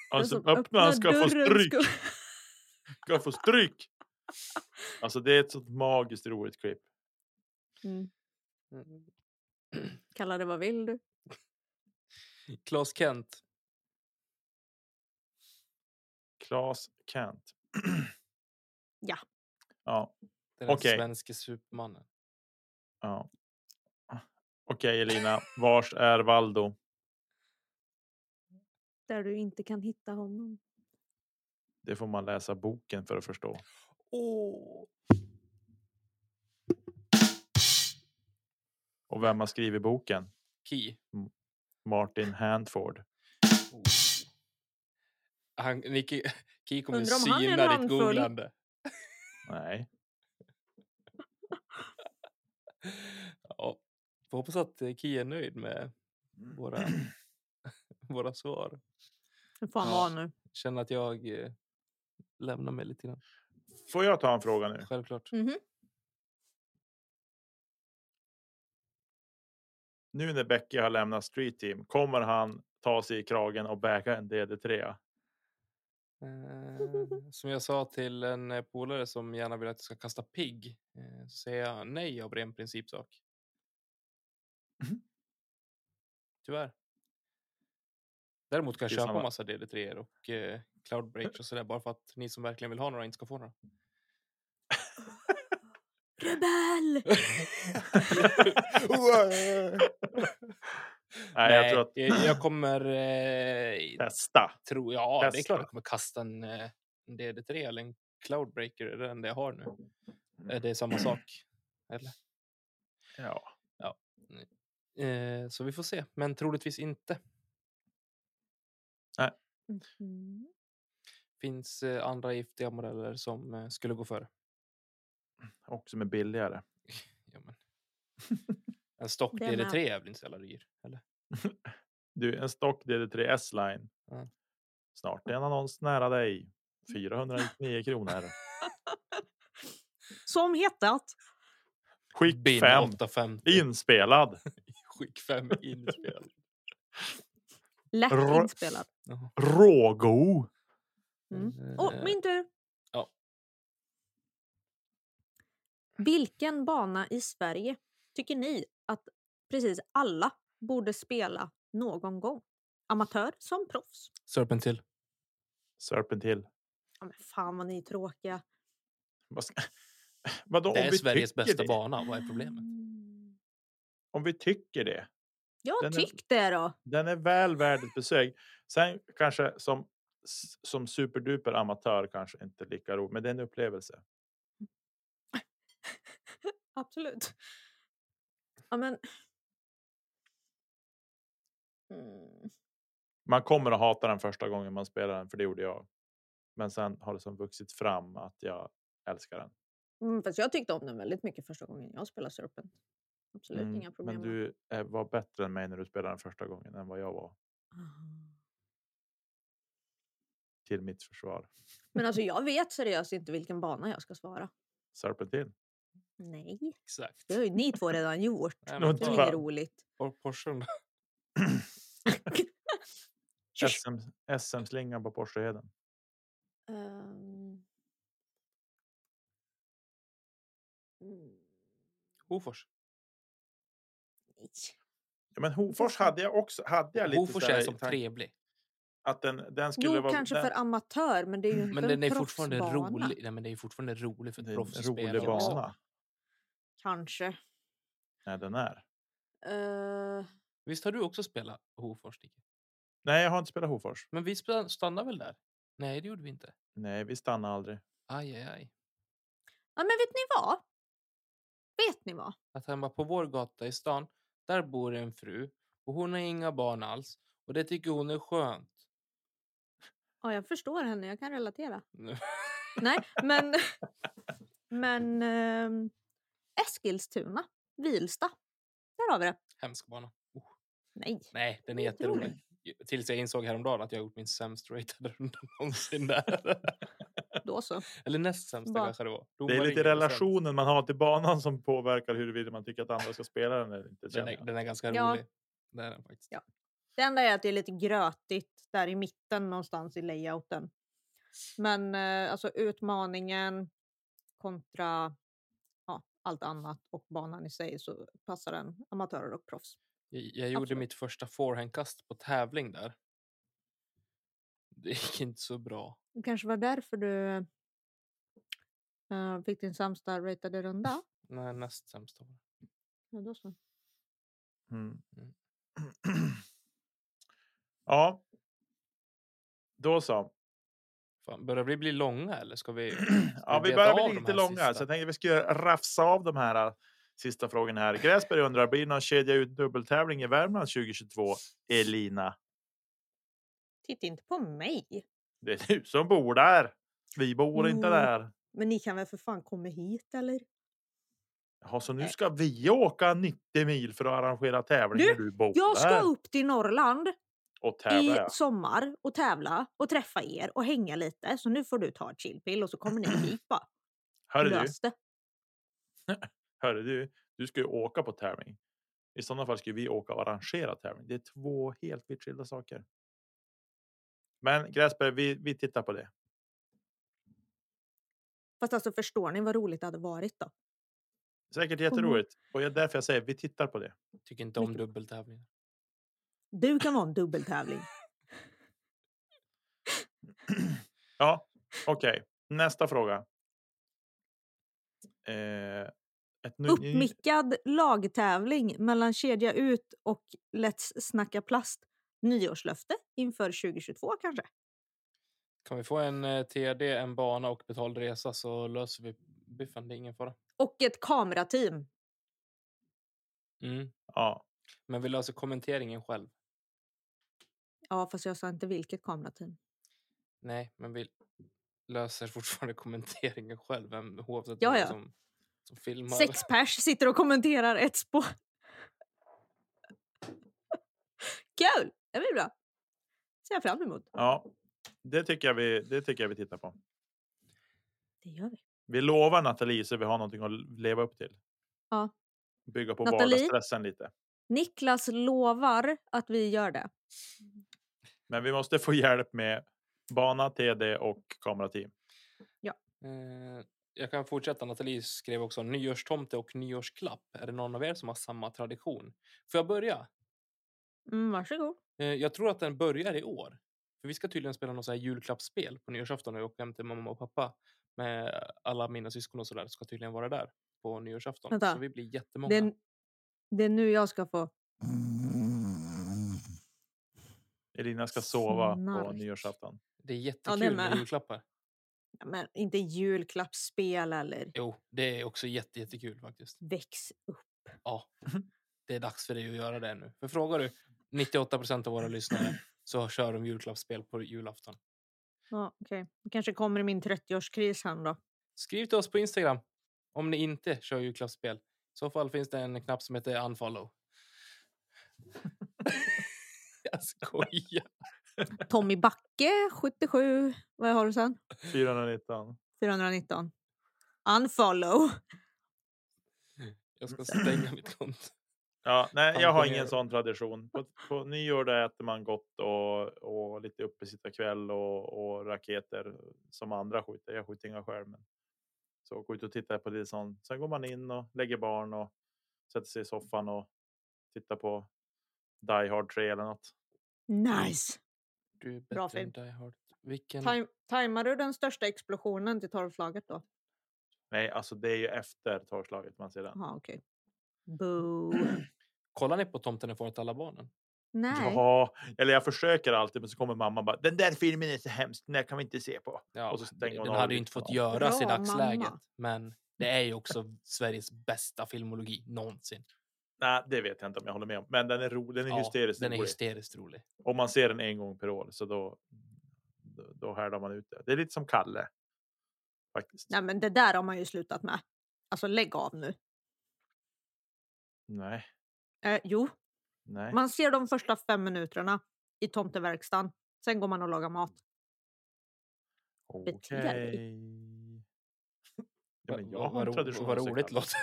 S1: alltså
S3: Den som
S1: öppna han ska
S3: öppnar
S1: få
S3: dörren
S1: stryk.
S3: ska-
S1: Ska få stryk. Alltså det är ett sånt magiskt roligt klipp.
S2: Mm.
S3: Kalla det vad vill du.
S2: Klas Kent.
S1: Klas Kent.
S3: Ja.
S1: Ja.
S2: Den
S1: Okej.
S2: svenske supermannen.
S1: ja. Okej Elina, vars är Valdo?
S3: Där du inte kan hitta honom.
S1: Det får man läsa boken för att förstå.
S2: Åh!
S1: Och vem har skrivit boken?
S2: Ki.
S1: Martin Handford.
S2: Oh. Han, Nicky, Ki kommer
S3: Undrar om han är
S2: syna ditt
S3: namnfull.
S2: googlande.
S1: Nej.
S2: Ja. Får hoppas att eh, Ki är nöjd med våra, våra svar.
S3: Hur fan
S2: Ja.
S3: var han nu?
S2: Känner att jag eh, lämnar mig lite grann.
S1: Får jag ta en fråga nu?
S2: Självklart.
S3: Mhm.
S1: Nu när Becky har lämnat Street Team, kommer han ta sig i kragen och bäka en DD3?
S2: Eh, som jag sa till en eh, polare som gärna vill att jag ska kasta pigg. Eh, så säger jag nej av ren principsak.
S1: Mhm.
S2: Tyvärr. Däremot kan jag
S1: Det är
S2: köpa
S1: samma.
S2: massa DD3 och eh, Cloud Breach och sådär bara för att ni som verkligen vill ha några inte ska få några.
S3: Rebell!
S1: Nej, jag tror att
S2: jag, jag kommer... Eh,
S1: testa.
S2: tro, ja, det är
S1: Testa.
S2: klart jag kommer kasta en, eh, en DD3 eller en Cloudbreaker. Det är den jag har nu. Eh, Det är
S1: Mm.
S2: samma sak. Eller?
S1: Ja,
S2: Eh, så vi får se, men troligtvis inte.
S3: Mhm.
S2: finns eh, andra giftiga modeller som eh, skulle gå före.
S1: också med billigare.
S2: Ja, men. En stock
S3: Det med.
S2: DD3 är väl inte så jävla dyr? Eller?
S1: Du, en stock DD3 S-line.
S2: Ja.
S1: Snart är en annons nära dig. 499 kronor.
S3: Som hetat.
S1: Skick 5.
S2: 850.
S1: Inspelad.
S2: Skick 5
S1: Mm.
S2: inspel.
S3: Lätt
S1: Ro-
S3: inspelad.
S2: Jaha.
S1: Rågo.
S3: Mm.
S2: Eh,
S3: Åh, min tur!
S2: Ja.
S3: Vilken bana i Sverige tycker ni att precis alla borde spela någon gång? Amatör som proffs.
S2: Serpent till.
S1: Serpent Hill.
S3: Ja, men fan vad ni är tråkiga.
S1: Vad ska- Vadå,
S2: Det
S1: om
S2: är
S1: vi
S2: Sveriges
S1: tycker
S2: bästa
S1: det?
S2: bana. Vad är problemet?
S3: Mm.
S1: Om vi tycker det.
S3: Jag
S1: Den är-
S3: tyckte det då.
S1: Den är väl värd ett besök. Sen kanske som, s- som superduper amatör kanske inte lika roligt, men det är en upplevelse.
S3: Absolut. Ja, men... Mm.
S1: Man kommer att hata den första gången man spelar den, för det gjorde jag. Men sen har det som vuxit fram att jag älskar den.
S3: Mm, fast jag tyckte om den väldigt mycket första gången jag spelade Serpent. Absolut
S1: Mm,
S3: inga problem
S1: Men
S3: med.
S1: du eh, var bättre än mig när du spelade den första gången än vad jag var,
S3: Ah.
S1: till mitt försvar.
S3: Men alltså jag vet seriöst inte vilken bana jag ska svara.
S1: Serpentin.
S3: Nej,
S2: Exakt.
S3: det har ju ni två redan gjort.
S2: Nej,
S1: Nå,
S2: men
S3: Det
S1: inte
S3: är
S2: ta-
S3: inget
S1: fan.
S3: roligt.
S2: Por- Porschen.
S1: SM, SM-slingan på Porscheheden.
S3: Ehm. Mm,
S2: Hofors.
S3: nej.
S1: Ja, men Hofors hade jag också. Hade jag lite
S2: Hofors
S1: så här
S2: är
S1: i
S2: som
S1: tanken
S2: trevlig.
S1: Att den, den skulle
S3: Jo,
S1: vara...
S3: kanske
S1: den,
S3: för amatör, men det är ju inte
S2: Men
S3: en
S2: den är fortfarande
S3: proffsbana.
S2: rolig. Nej, men det är fortfarande rolig för
S1: det
S2: ett
S1: är en
S2: proffs att spela
S1: rolig
S2: också.
S1: bana.
S3: Kanske.
S1: Nej, den är.
S3: Eh,
S2: Visst har du också spelat Hofors? Nicky?
S1: Nej, jag har inte spelat Hofors.
S2: Men vi sp- stannade väl där? Nej, det gjorde vi inte.
S1: Nej, vi stannar aldrig.
S2: Aj, aj, aj.
S3: ja, men vet ni vad? Vet ni vad?
S2: Att han var på vår gata i stan, där bor en fru och hon har inga barn alls och det tycker hon är skönt.
S3: Ja, jag förstår henne, jag kan relatera.
S2: Nu-
S3: Nej, men... men ehm, Eskilstuna, Vilsta. Där har vi det.
S2: Hemsk bana. Oh.
S3: Nej.
S2: Nej, den är
S3: Det är jätteroligt.
S2: jätterolig. Ju- Tills jag insåg häromdagen att jag har gjort min sämst ratade runda någonsin där.
S3: Då så.
S2: Eller näst sämsta
S3: Bara-
S2: kanske det var.
S1: Det är
S2: Domarringen
S1: lite
S2: var sämst.
S1: relationen man har till banan som påverkar huruvida man tycker att andra ska spela den eller inte.
S2: Den
S1: känner
S2: är,
S1: jag.
S2: den är ganska
S3: Ja.
S2: rolig. Det är den faktiskt.
S3: Ja. Det enda är att det är lite grötigt där i mitten någonstans i layouten. Men eh, alltså utmaningen kontra ja, allt annat och banan i sig så passar den amatörer och proffs.
S2: Jag, jag gjorde
S3: Absolut.
S2: mitt första forehandkast på tävling där. Det gick inte så bra.
S3: Det kanske var därför du eh, fick din sämsta ratade runda.
S2: Nej, näst sämsta var det.
S3: Ja, då så.
S1: Mm.
S2: Mm.
S1: ja. Då så.
S2: Fan, börjar vi bli långa eller ska vi?
S1: Ja, vi
S2: beta
S1: börjar
S2: av
S1: bli
S2: de
S1: lite
S2: här
S1: långa,
S2: sista?
S1: så jag tänkte vi skulle rafsa av de här äh, sista frågorna här. Gräsberg undrar, blir det någon kedja ut dubbeltävling i Värmland 2022? Elina,
S3: Titta inte på mig.
S1: det är du som bor där. Vi bor inte
S3: Jo.
S1: där.
S3: Men ni kan väl för fan komma hit eller?
S1: Jaha, så nu
S3: Nej.
S1: ska vi åka 90 mil för att arrangera tävling
S3: Du,
S1: när du bor
S3: Jag ska
S1: där
S3: upp till Norrland
S1: och
S3: i
S1: tävla. ja.
S3: sommar och tävla och träffa er och hänga lite. Så nu får du ta ett chillpill och så kommer ni hit bara.
S1: Hörru du,
S3: Lös det.
S1: hörru du, du ska ju åka på tävling. I sådana fall ska vi åka och arrangera tävling. Det är två helt vitt skilda saker. Men Gräsberg, vi, vi tittar på det.
S3: Fast alltså förstår ni vad roligt det hade varit då?
S1: Säkert jätteroligt. Och jag- därför jag säger vi tittar på det.
S2: Tycker inte om
S3: Mycket-
S2: dubbeltävlingar.
S3: Du kan vara en dubbeltävling.
S1: Ja, okej. Nästa fråga. Eh, ett ny, ny,
S3: Uppmickad lagtävling mellan kedja ut och Let's snacka plast. Nyårslöfte inför 2022 kanske?
S2: Kan vi få en eh, TD, en bana och betald resa så löser vi biffen. Det är ingen fara.
S3: Och ett kamerateam.
S2: Mm.
S1: ja,
S2: Men vi löser kommenteringen själv.
S3: Ja, fast jag sa inte vilket kamerateam.
S2: Nej, men vi löser fortfarande kommenteringen själv. Vem, oavsett
S3: Ja,
S2: vem
S3: ja.
S2: Som, som filmar.
S3: Sex pers sitter och kommenterar ett spår. Kul! Det blir bra. ser jag fram emot.
S1: ja, det tycker jag vi. Det tycker jag vi tittar på.
S3: Det gör vi.
S1: Vi lovar Nathalie så vi har någonting att leva upp till.
S3: Ja.
S1: Bygga på
S3: Nathalie?
S1: vardagsstressen lite.
S3: Niklas lovar att vi gör det.
S1: Men vi måste få hjälp med bana, TD och kamerateam.
S2: Eh, jag kan fortsätta. Nathalie skrev också nyårstomte och nyårsklapp. Är det någon av er som har samma tradition? Får jag börja?
S3: Mm, varsågod.
S2: Eh, jag tror att den börjar i år. För Vi ska tydligen spela något så här julklappsspel på nyårsafton. när Jag åker hem till mamma och pappa med alla mina syskon och sådär. Ska tydligen vara där på nyårsafton.
S3: Vänta.
S2: Så vi blir jättemånga.
S3: Det är, det är nu jag ska få...
S1: Elina ska sova på
S3: Snark.
S1: nyårsafton.
S2: Det är jättekul med
S3: med.
S2: julklappar.
S3: Ja, Men inte julklappsspel eller
S2: Jo, det är också jätte, jättekul faktiskt.
S3: väx upp.
S2: Ja, det är dags för dig att göra det nu. För frågar du 98 procent av våra lyssnare så kör de julklappsspel på julafton.
S3: Ja, okej. Det kanske kommer i min 30-årskris här då.
S2: Skriv till oss på Instagram om ni inte kör julklappsspel. I så fall finns det en knapp som heter unfollow. Jag skojar.
S3: Tommy Backe, 77. Vad har du sen?
S1: 419.
S3: 419. Unfollow.
S2: Jag ska stänga mitt konto.
S1: Ja, nej, jag har ingen
S2: Pensionär.
S1: sån tradition. På, på nyår där äter man gott och, och lite uppesittarkväll och, och raketer som andra skjuter. Jag skjuter inga själv, men så gå ut och titta på det sånt. Sen går man in och lägger barn och sätter sig i soffan och tittar på Die Hard 3 eller något.
S3: Nice!
S2: Du är bättre
S3: Bra
S2: än Die Hard. Vilken...
S3: Taj- tajmar du den största explosionen till torvslaget då?
S1: Nej, alltså det är ju efter torrslaget man ser den.
S3: Jaha, okej. Boo.
S2: Kollar ni på Tomten är far till alla barnen?
S3: Nej.
S1: Ja, eller jag försöker alltid, men så kommer mamma bara. Den där filmen är så hemsk. Den där kan vi inte se på.
S2: Ja,
S1: Och så stänger hon
S2: den
S1: av
S2: hade ju
S1: ljuset
S2: inte fått
S1: och allt.
S2: göras i
S3: Bra,
S2: dagsläget.
S3: mamma.
S2: Men det är ju också Sveriges bästa filmologi någonsin.
S1: Nej, det vet jag inte om jag håller med om, men den är rolig. Den är
S2: Ja,
S1: hysteriskt
S2: Den är
S1: rolig.
S2: hysteriskt rolig.
S1: Om man ser den en gång per år så då, då- då härdar man ut det. Det är lite som Kalle. Faktiskt.
S3: Nej, men det där har man ju slutat med. Alltså lägg av nu.
S1: Nej,
S3: Eh, jo,
S1: nej.
S3: man ser de första fem minuterna i tomteverkstan. Sen går man och lagar mat.
S1: Okej.
S3: beter dig.
S1: Ja,
S2: Va-
S1: men
S2: va-
S1: jag har
S2: vad
S1: en
S2: ro-
S1: tradition
S2: Vad
S1: att se
S2: roligt
S1: Kalle.
S2: låter.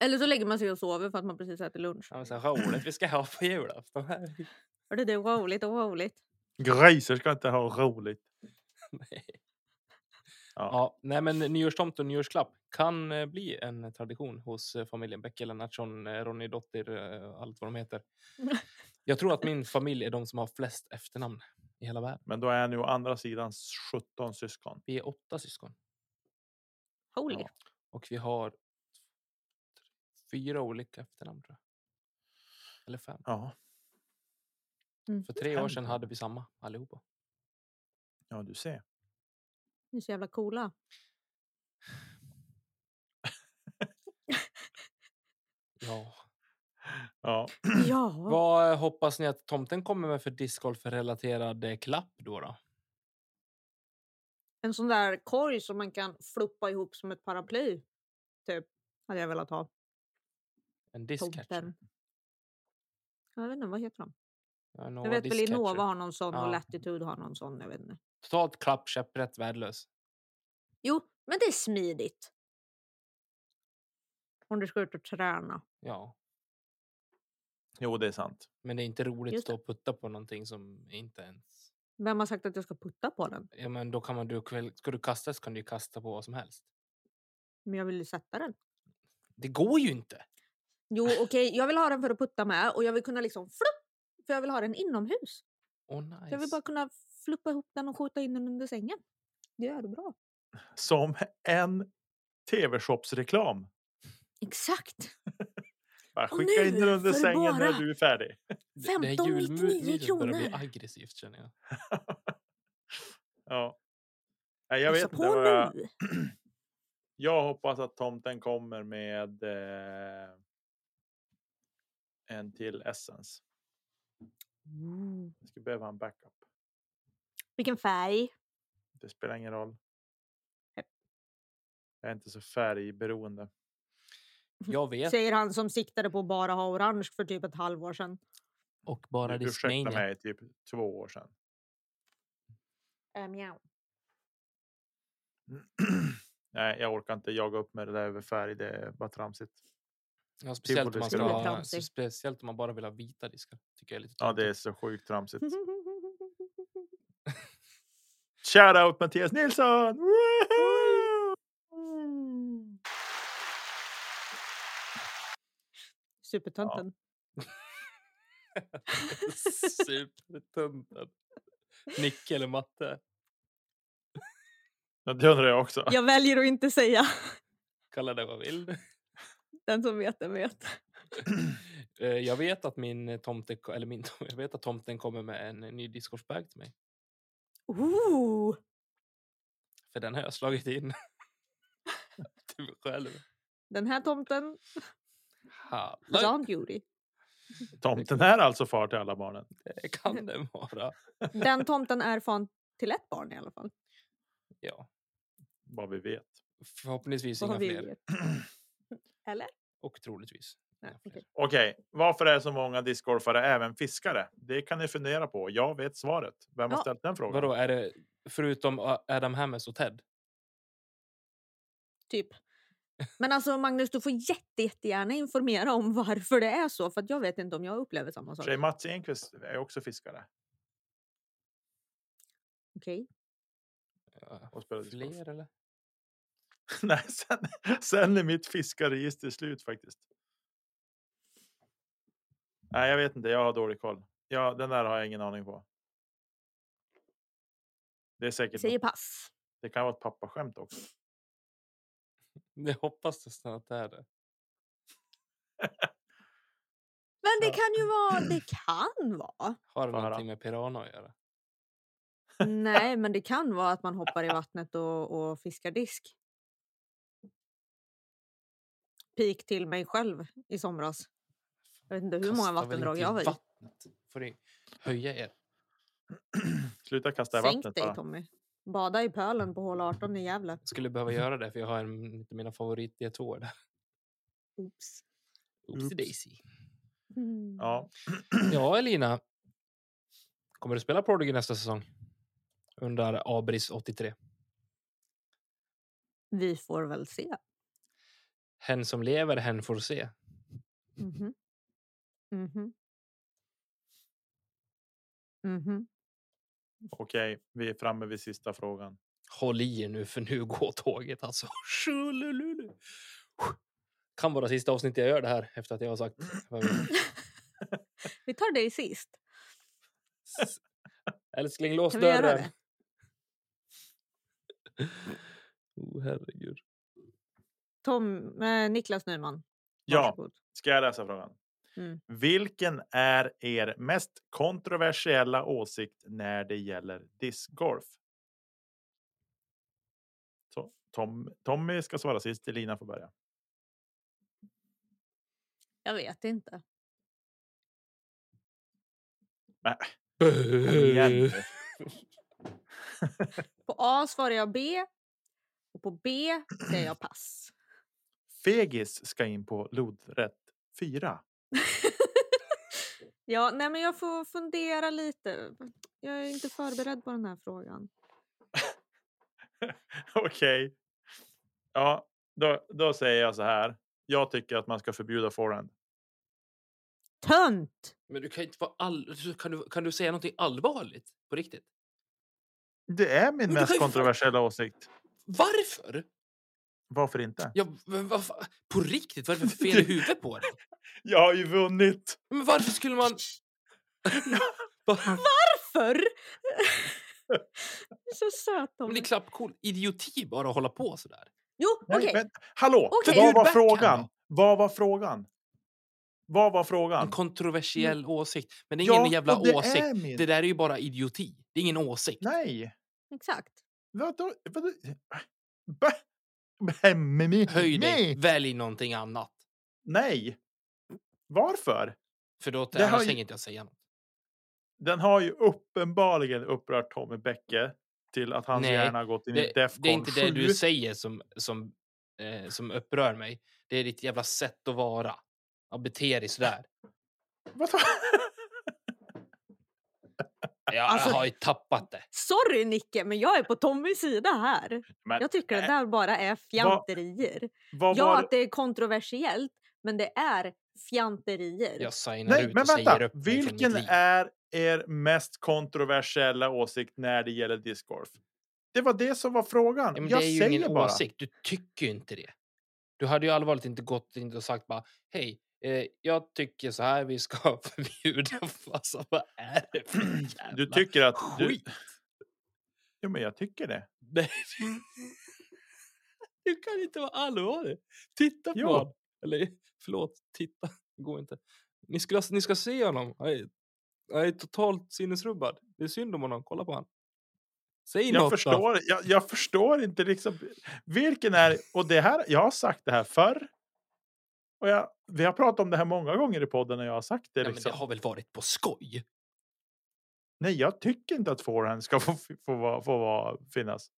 S3: Eller så lägger man sig och sover för att man precis ätit lunch.
S2: Ja, men så här, roligt vi ska ha på julafton. här.
S3: Hörde du, roligt och roligt.
S1: Griser ska inte ha roligt.
S2: Nej. Ja, nej, men nyårstomt och nyårsklapp kan eh, bli en tradition hos eh, familjen Bäcke, Lennartsson, eh, Ronny Dotter, eh, allt vad de heter. Jag tror att min familj är de som har flest efternamn i hela världen.
S1: Men då är ni å andra sidan 17 syskon.
S2: Vi är åtta syskon
S3: Holy.
S1: Ja.
S2: och vi har fyra olika efternamn tror jag. Eller fem.
S1: Ja,
S3: Mm.
S2: För tre år
S1: Fem.
S2: sedan hade vi samma allihopa.
S1: ja du ser.
S3: Ni är så jävla coola.
S2: Ja.
S1: Ja,
S3: Ja.
S2: Vad eh, hoppas ni att tomten kommer med för discgolf-relaterad eh, klapp då? då?
S3: En sån där korg som man kan fluppa ihop som ett paraply. Typ. Hade jag velat ha.
S2: En discatcher?
S3: Tomten. Jag vet inte, vad heter de?
S2: Ja,
S3: Jag vet väl Innova har någon sån
S2: Ja.
S3: och Latitude har någon sån. Jag vet inte.
S2: Totalt klapp, käpprätt, värdelös.
S3: Jo, men det är smidigt. Om du ska ut och träna.
S2: Ja,
S1: jo det är sant.
S2: men det är inte roligt att
S3: Just
S2: stå och putta på någonting som inte ens...
S3: Vem har sagt att jag ska putta på den?
S2: Ja, men då kan man, du, kväll- ska du kasta så kan du ju kasta på vad som helst.
S3: Men jag vill ju sätta den.
S2: Det går ju inte!
S3: Jo, okej, jag vill ha den för att putta med och jag vill kunna liksom flupp! För jag vill ha den inomhus.
S2: Åh,
S3: Så
S2: nice.
S3: jag vill bara kunna fluppa ihop den och skjuta in den under sängen. Det gör du bra.
S1: Som en tv-shopsreklam.
S3: Exakt!
S1: Bara
S3: Och
S1: skicka
S3: nu
S1: in den under
S3: för
S1: sängen när
S3: bara-
S1: du är färdig.
S2: Det- det här
S3: 15,99
S2: julmudet börjar bli
S3: kronor.
S2: aggressivt känner jag.
S1: ja. Nej, jag vet
S3: Hälsa
S1: inte
S3: på
S1: vad jag...
S3: nu!
S1: Jag hoppas att tomten kommer med eh, en till Essence.
S3: Mm.
S1: Jag skulle behöva en backup.
S3: Vilken färg?
S1: Det spelar ingen roll.
S3: Japp.
S1: Jag är inte så färgberoende.
S2: Jag vet,
S3: Säger han som siktade på att bara ha orange för typ ett halvår sedan.
S2: och bara
S1: Ursäkta
S2: Disney.
S1: mig, typ två år sedan.
S3: Äh, mjau.
S1: Nej, jag orkar inte jaga upp med det där över färg. Det är bara tramsigt.
S2: Ja, speciellt, om man
S1: ska
S2: ska
S1: det vara.
S2: ha,
S3: Tramsig.
S2: speciellt om man bara vill ha vita diskar. Tycker jag är lite
S1: Ja,
S2: töntigt.
S1: det är så sjukt tramsigt. Shoutout Mattias Nilsson! Woho!
S3: Supertönten.
S2: Supertunten. Nicke eller matte?
S1: Ja, Det undrar jag också.
S3: Jag väljer att inte säga.
S2: Kalla det vad vill.
S3: Den som vet, den vet.
S2: Eh, Jag vet att min tomte, ko- eller min, tom- jag vet att tomten kommer med en ny discgolfbag till mig.
S3: Ooh.
S2: För den har jag slagit in. till mig själv.
S3: Den här tomten,
S2: Hallå,
S3: John Judy.
S1: Tomten är alltså far till alla barnen.
S2: det kan den vara.
S3: Den tomten är fan till ett barn i alla fall.
S2: Ja,
S1: Vad vi vet.
S2: förhoppningsvis
S3: Vad
S2: inga
S3: vi
S2: fler.
S3: vet. Eller?
S2: Och troligtvis.
S3: Nej,
S2: inga fler.
S3: okej.
S1: Okej, varför är så många discgolfare även fiskare? Det kan ni fundera på. Jag vet svaret. Vem har
S3: Ja,
S1: ställt den frågan?
S2: Vadå, är det förutom A- Adam Hammes och Ted?
S3: Typ. Men alltså Magnus, du får jätte, jättegärna informera om varför det är så. För att jag vet inte om jag upplever samma sak.
S1: Tjej Mats Enqvist är också fiskare.
S3: Okej.
S2: Ja,
S1: Och spelar discgolf.
S2: Fler eller?
S1: Nej, sen, sen är mitt fiskarregister slut faktiskt. Nej, jag vet inte. Jag har dålig koll. Ja, den där har jag ingen aning på. Det är säkert.
S3: Säger
S1: något-
S3: pass.
S1: Det kan vara ett pappaskämt också.
S2: Jag hoppas nästan att det är det.
S3: Men det
S1: Ja.
S3: kan ju vara, det kan vara.
S2: Har det
S1: Fara.
S2: någonting med piranha att göra?
S3: Nej, men det kan vara att man hoppar i vattnet och, och fiskar disk. Pik till mig själv i somras. Jag vet inte hur många
S2: Kasta väl
S3: vattendrag
S2: inte i
S3: jag var i.
S2: Vattnet. Får ni höja er?
S1: Sluta kasta i vattnet
S3: Sänk dig
S1: bara.
S3: Tommy. Bada i pölen på hål 18 i Gävle.
S2: Skulle behöva göra det för jag har en av mina favorit d 2 där.
S3: Oops.
S2: Oopsie
S1: Oops.
S2: daisy.
S3: Mm.
S1: Ja,
S2: Ja, Elina. Kommer du spela Prodigy nästa säsong? Undrar Abris 83.
S3: Vi får väl se.
S2: Hen som lever, hen får se.
S3: Mhm. Mhm. Mhm.
S1: okej. Vi är framme vid sista frågan.
S2: håll i er nu för nu går tåget alltså. Tjolululu. Kan vara sista avsnittet jag gör det här efter att jag har sagt vad jag vill.
S3: Vi tar det i sist.
S2: S- Älskling, lås
S3: Kan vi göra
S2: dörren.
S3: det?
S2: Oh, herregud.
S3: Tom, eh, Niklas Nyman.
S1: Ja,
S3: varsågod.
S1: ska jag läsa frågan?
S3: Mm.
S1: Vilken är er mest kontroversiella åsikt när det gäller discgolf? Så, Tom, Tommy ska svara sist, Elina får börja.
S3: Jag vet inte.
S1: Nej, kom igen nu.
S3: På A svarar jag B. Och på B säger jag pass.
S1: Fegis ska in på lodrätt 4.
S3: ja, nej men jag får fundera lite. Jag är inte förberedd på den här frågan.
S1: Okej. Ja, då, då säger jag så här. Jag tycker att man ska förbjuda forehand.
S3: Tönt!
S2: Men du kan ju inte vara all... kan, du, kan du säga någonting allvarligt? På riktigt?
S1: Det är min
S2: du kan
S1: mest
S2: ju fan-
S1: kontroversiella åsikt.
S2: Varför?
S1: Varför inte?
S2: Ja, men vad fa- på riktigt? Vad är det för fel i huvudet på dig?
S1: Jag har ju vunnit!
S2: Men varför skulle man... Va-
S3: Förr! så söt
S2: Men
S3: Tommy.
S2: det är klappcool idioti bara att hålla på sådär.
S3: Jo,
S1: Nej,
S3: okej.
S1: men, hallå!
S3: Okej.
S1: Vad var
S2: Feedback kan
S1: frågan?
S2: vara.
S1: Vad var frågan? Vad var
S2: En
S1: frågan?
S2: kontroversiell åsikt. Men det är ingen jävla
S1: Mm. och det
S2: åsikt.
S1: Är min.
S2: Det där är ju bara idioti. Det är ingen åsikt.
S1: Nej!
S3: Exakt.
S1: Vadå? Vadå? Va? Men- men- men-
S2: Höj dig,
S1: Nej.
S2: välj någonting annat.
S1: Nej! Varför?
S2: För då
S1: Det har
S2: annars
S1: ju-
S2: tänker inte jag säga något.
S1: Den har ju uppenbarligen upprört Tommy Bäcke till att hans
S2: Nej,
S1: hjärna har gått in i
S2: Det,
S1: Defcon
S2: det är inte
S1: 7.
S2: det du säger som, som, eh, som upprör mig. Det är ditt jävla sätt att vara. Ja, bete dig sådär.
S1: Vadå?
S2: Jag,
S3: Alltså-
S2: jag har ju tappat det.
S3: Sorry Nicke, men jag är på Tommys sida här.
S1: Men,
S3: Jag tycker det
S1: äh,
S3: där bara är fjanterier.
S1: Vad
S3: Ja,
S1: var...
S3: att det är kontroversiellt, men det är fjanterier.
S2: Jag signar
S1: eh, Nej,
S2: ut
S1: men
S2: och säger
S1: vänta.
S2: upp mig från
S1: Vilken
S2: mitt liv.
S1: är er mest kontroversiella åsikt när det gäller discgolf? Det var det som var frågan.
S2: Ja, men
S1: jag
S2: det är ju
S1: säger
S2: ingen
S1: bara.
S2: åsikt. Du tycker ju inte det. Du hade ju allvarligt inte gått in och sagt bara hej, eh, jag tycker så här, vi ska förbjuda. Alltså, vad är det för jävla
S1: Du tycker att... Du...
S2: skit?
S1: Jo, men jag tycker det.
S2: Nej. du- Du kan inte vara allvarlig. Titta på
S1: Jo.
S2: honom. Eller förlåt, titta. Det går inte. Ni, skulle, ni ska se honom. Han är, han är totalt sinnesrubbad. Det är synd om honom. Kolla på honom. Säg något
S1: Jag
S2: då.
S1: förstår, jag, jag förstår inte liksom... Vilken är... Och det här, jag har sagt det här förr. Och jag, vi har pratat om det här många gånger i podden när jag har sagt det.
S2: Ja, men
S1: liksom.
S2: det har väl varit på skoj?
S1: Nej, jag tycker inte att forehand ska få, få, vara- få vara, finnas.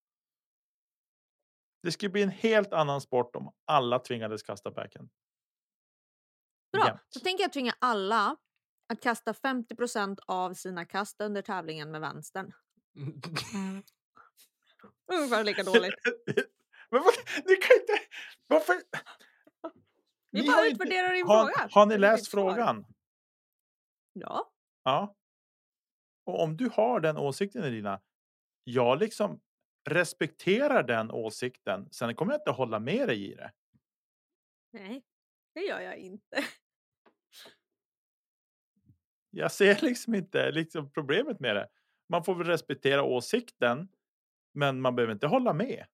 S1: Det skulle bli en helt annan sport om alla tvingades kasta backhand.
S3: Bra.
S1: Jämt.
S3: Då tänker jag tvinga alla att kasta 50 av sina kast under tävlingen med vänstern.
S1: Mm.
S3: Ungefär lika dåligt.
S1: Men vad, ni kan inte... Varför?
S3: Vi
S1: Ni har
S3: bara
S1: ju inte-
S3: utvärderar din fråga.
S1: Har, har ni
S3: Det är mitt
S1: läst
S3: svar.
S1: frågan?
S3: Ja.
S1: Ja. Och om du har den åsikten Elina, jag liksom respekterar den åsikten. Sen kommer jag inte hålla med dig i det.
S3: Nej, det gör jag inte.
S1: Jag ser liksom inte liksom problemet med det. Man får väl respektera åsikten, men man behöver inte hålla med.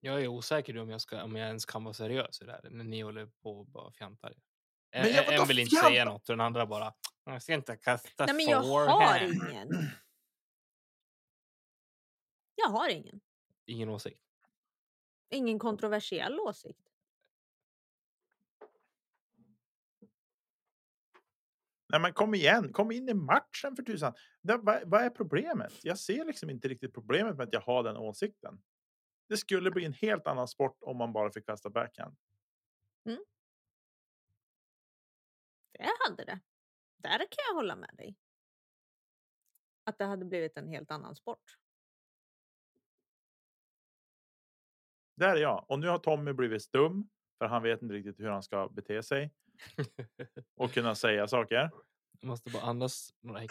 S2: Jag är osäker om jag, ska, om jag ens kan vara seriös i det här. När ni håller på och bara fjantar. En,
S1: Men jag
S2: en- en
S1: vadå
S2: vill inte säga
S1: fjanta?
S2: något och den andra bara... "Ah, Jag ska inte kasta
S3: Nej, men jag har
S2: forehand."
S3: ingen. Jag har ingen.
S2: Ingen åsikt.
S3: Ingen kontroversiell åsikt.
S1: Nej, men kom igen, kom in i matchen för tusan. Det, vad, vad är problemet? Jag ser liksom inte riktigt problemet med att jag har den åsikten. Det skulle bli en helt annan sport om man bara fick kasta backhand.
S3: Det hade det. Där kan jag hålla med dig. Att det hade blivit en helt annan sport.
S1: Där är jag. Och nu har Tommy blivit stum för han vet inte riktigt hur han ska bete sig och kunna säga saker.
S2: Jag måste bara andas några häck.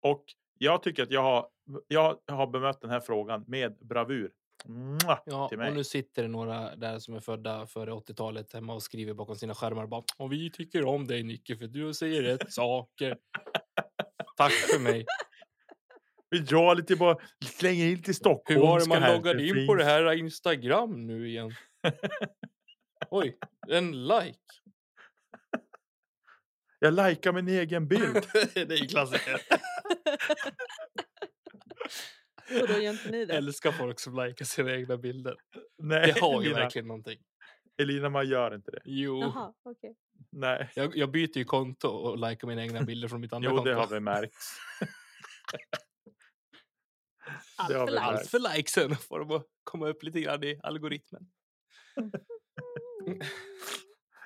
S1: Och Jag tycker att jag har, jag har bemött den här frågan med bravur. Mwah!
S2: Ja,
S1: till
S2: och
S1: mig.
S2: nu sitter det några där som är födda före 80-talet hemma och skriver bakom sina skärmar bara och vi tycker om dig Nicke för du säger rätt saker. Tack för mig.
S1: Vi drar lite bara, slänger in till
S2: Hur
S1: Stockholm.
S2: var det man loggade in på det här Instagram nu igen? Oj, en like.
S1: Jag likar min egen bild.
S2: det är klassiker.
S3: Och då gör inte ni det?
S2: Älskar folk som likar sina egna bilder.
S1: Nej,
S2: Det har ju
S1: Elina,
S2: verkligen någonting.
S1: Elina, man gör inte det.
S2: Jo,
S3: Jaha, okej.
S1: Nej,
S2: jag, jag byter ju konto och likar mina egna bilder från mitt andra
S1: jo,
S2: konto.
S1: det har vi märkt.
S3: Allt
S1: Det har
S3: för
S1: vi
S3: light.
S2: Allt för likesen får de att komma upp lite grann i algoritmen.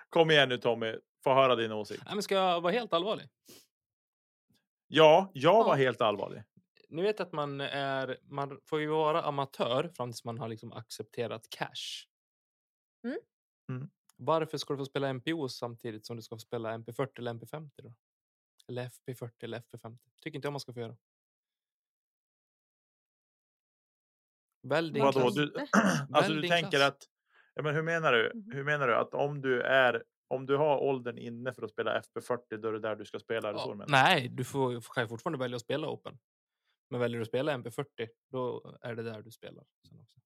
S1: Kom igen nu Tommy, få höra din åsikt.
S2: Nej, men ska jag vara helt allvarlig?
S1: Ja, jag var
S2: Ja.
S1: helt allvarlig.
S2: Ni vet att man är, man får ju vara amatör fram tills man har liksom accepterat cash.
S3: Mm.
S1: Mm.
S2: Varför ska du få spela MPO samtidigt som du ska få spela MP40 eller MP50 då? Eller FP40 eller FP50? Tycker inte jag man ska få göra. Välj din
S3: Man
S1: Vadå,
S2: klass.
S3: kan
S1: du,
S3: inte.
S1: alltså,
S2: Välj
S1: du
S2: din
S1: tänker
S2: klass. Mm.
S1: att... Ja, men hur menar du?
S3: Mhm.
S1: Hur menar du att om du är... Om du har åldern inne för att spela FP40, då är det där du ska spela? Eller så, du
S2: Ja,
S1: menar?
S2: nej, du får, kan ju fortfarande välja att spela Open. Men väljer du att spela MP40, då är det där du spelar. Sen också.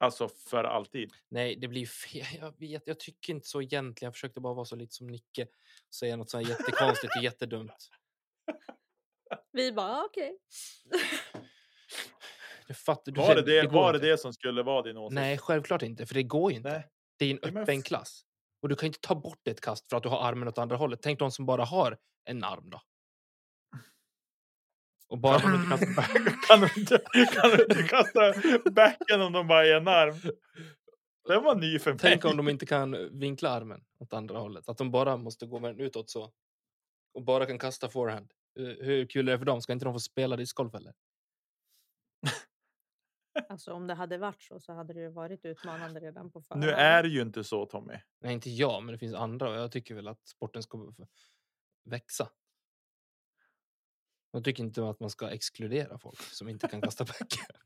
S1: Alltså för alltid?
S2: Nej, det blir fel. Jag vet, jag tycker inte så egentligen. Jag försökte bara vara så lite som Nicke. Säga något så här jättekonstigt och jättedumt.
S3: Vi bara, ah, okej.
S2: Du fattar, du
S1: Var,
S2: känner-
S1: det det,
S2: går
S1: var det
S2: inte.
S1: det som skulle vara din åsikt?
S2: Nej, självklart inte. För det går ju inte.
S1: Nej.
S2: Det är en
S1: Ja, men
S2: öppen
S1: f-
S2: klass. Och du kan ju inte ta bort ett kast för att du har armen åt andra hållet. Tänk de som bara har en arm då. Och bara
S1: Kan
S2: de
S1: de
S2: inte
S1: inte
S2: kan...
S1: kasta, kan de inte, kan de inte kasta backen om de bara är en arm? Den var ny för mig.
S2: Tänk om de inte kan eh, vinkla armen åt andra hållet. Att de bara måste gå med den utåt så. Och bara kan kasta forehand. Eh, Hur kul är det för dem? Ska inte de få spela discgolf eller?
S3: Alltså om det hade varit så så hade det ju varit utmanande redan på förhand. Alltså,
S1: Nu är det ju inte så Tommy.
S2: Nej, inte jag, men det finns andra och jag tycker väl att sporten ska få växa. Jag tycker inte att man ska exkludera folk som inte kan kasta backhand.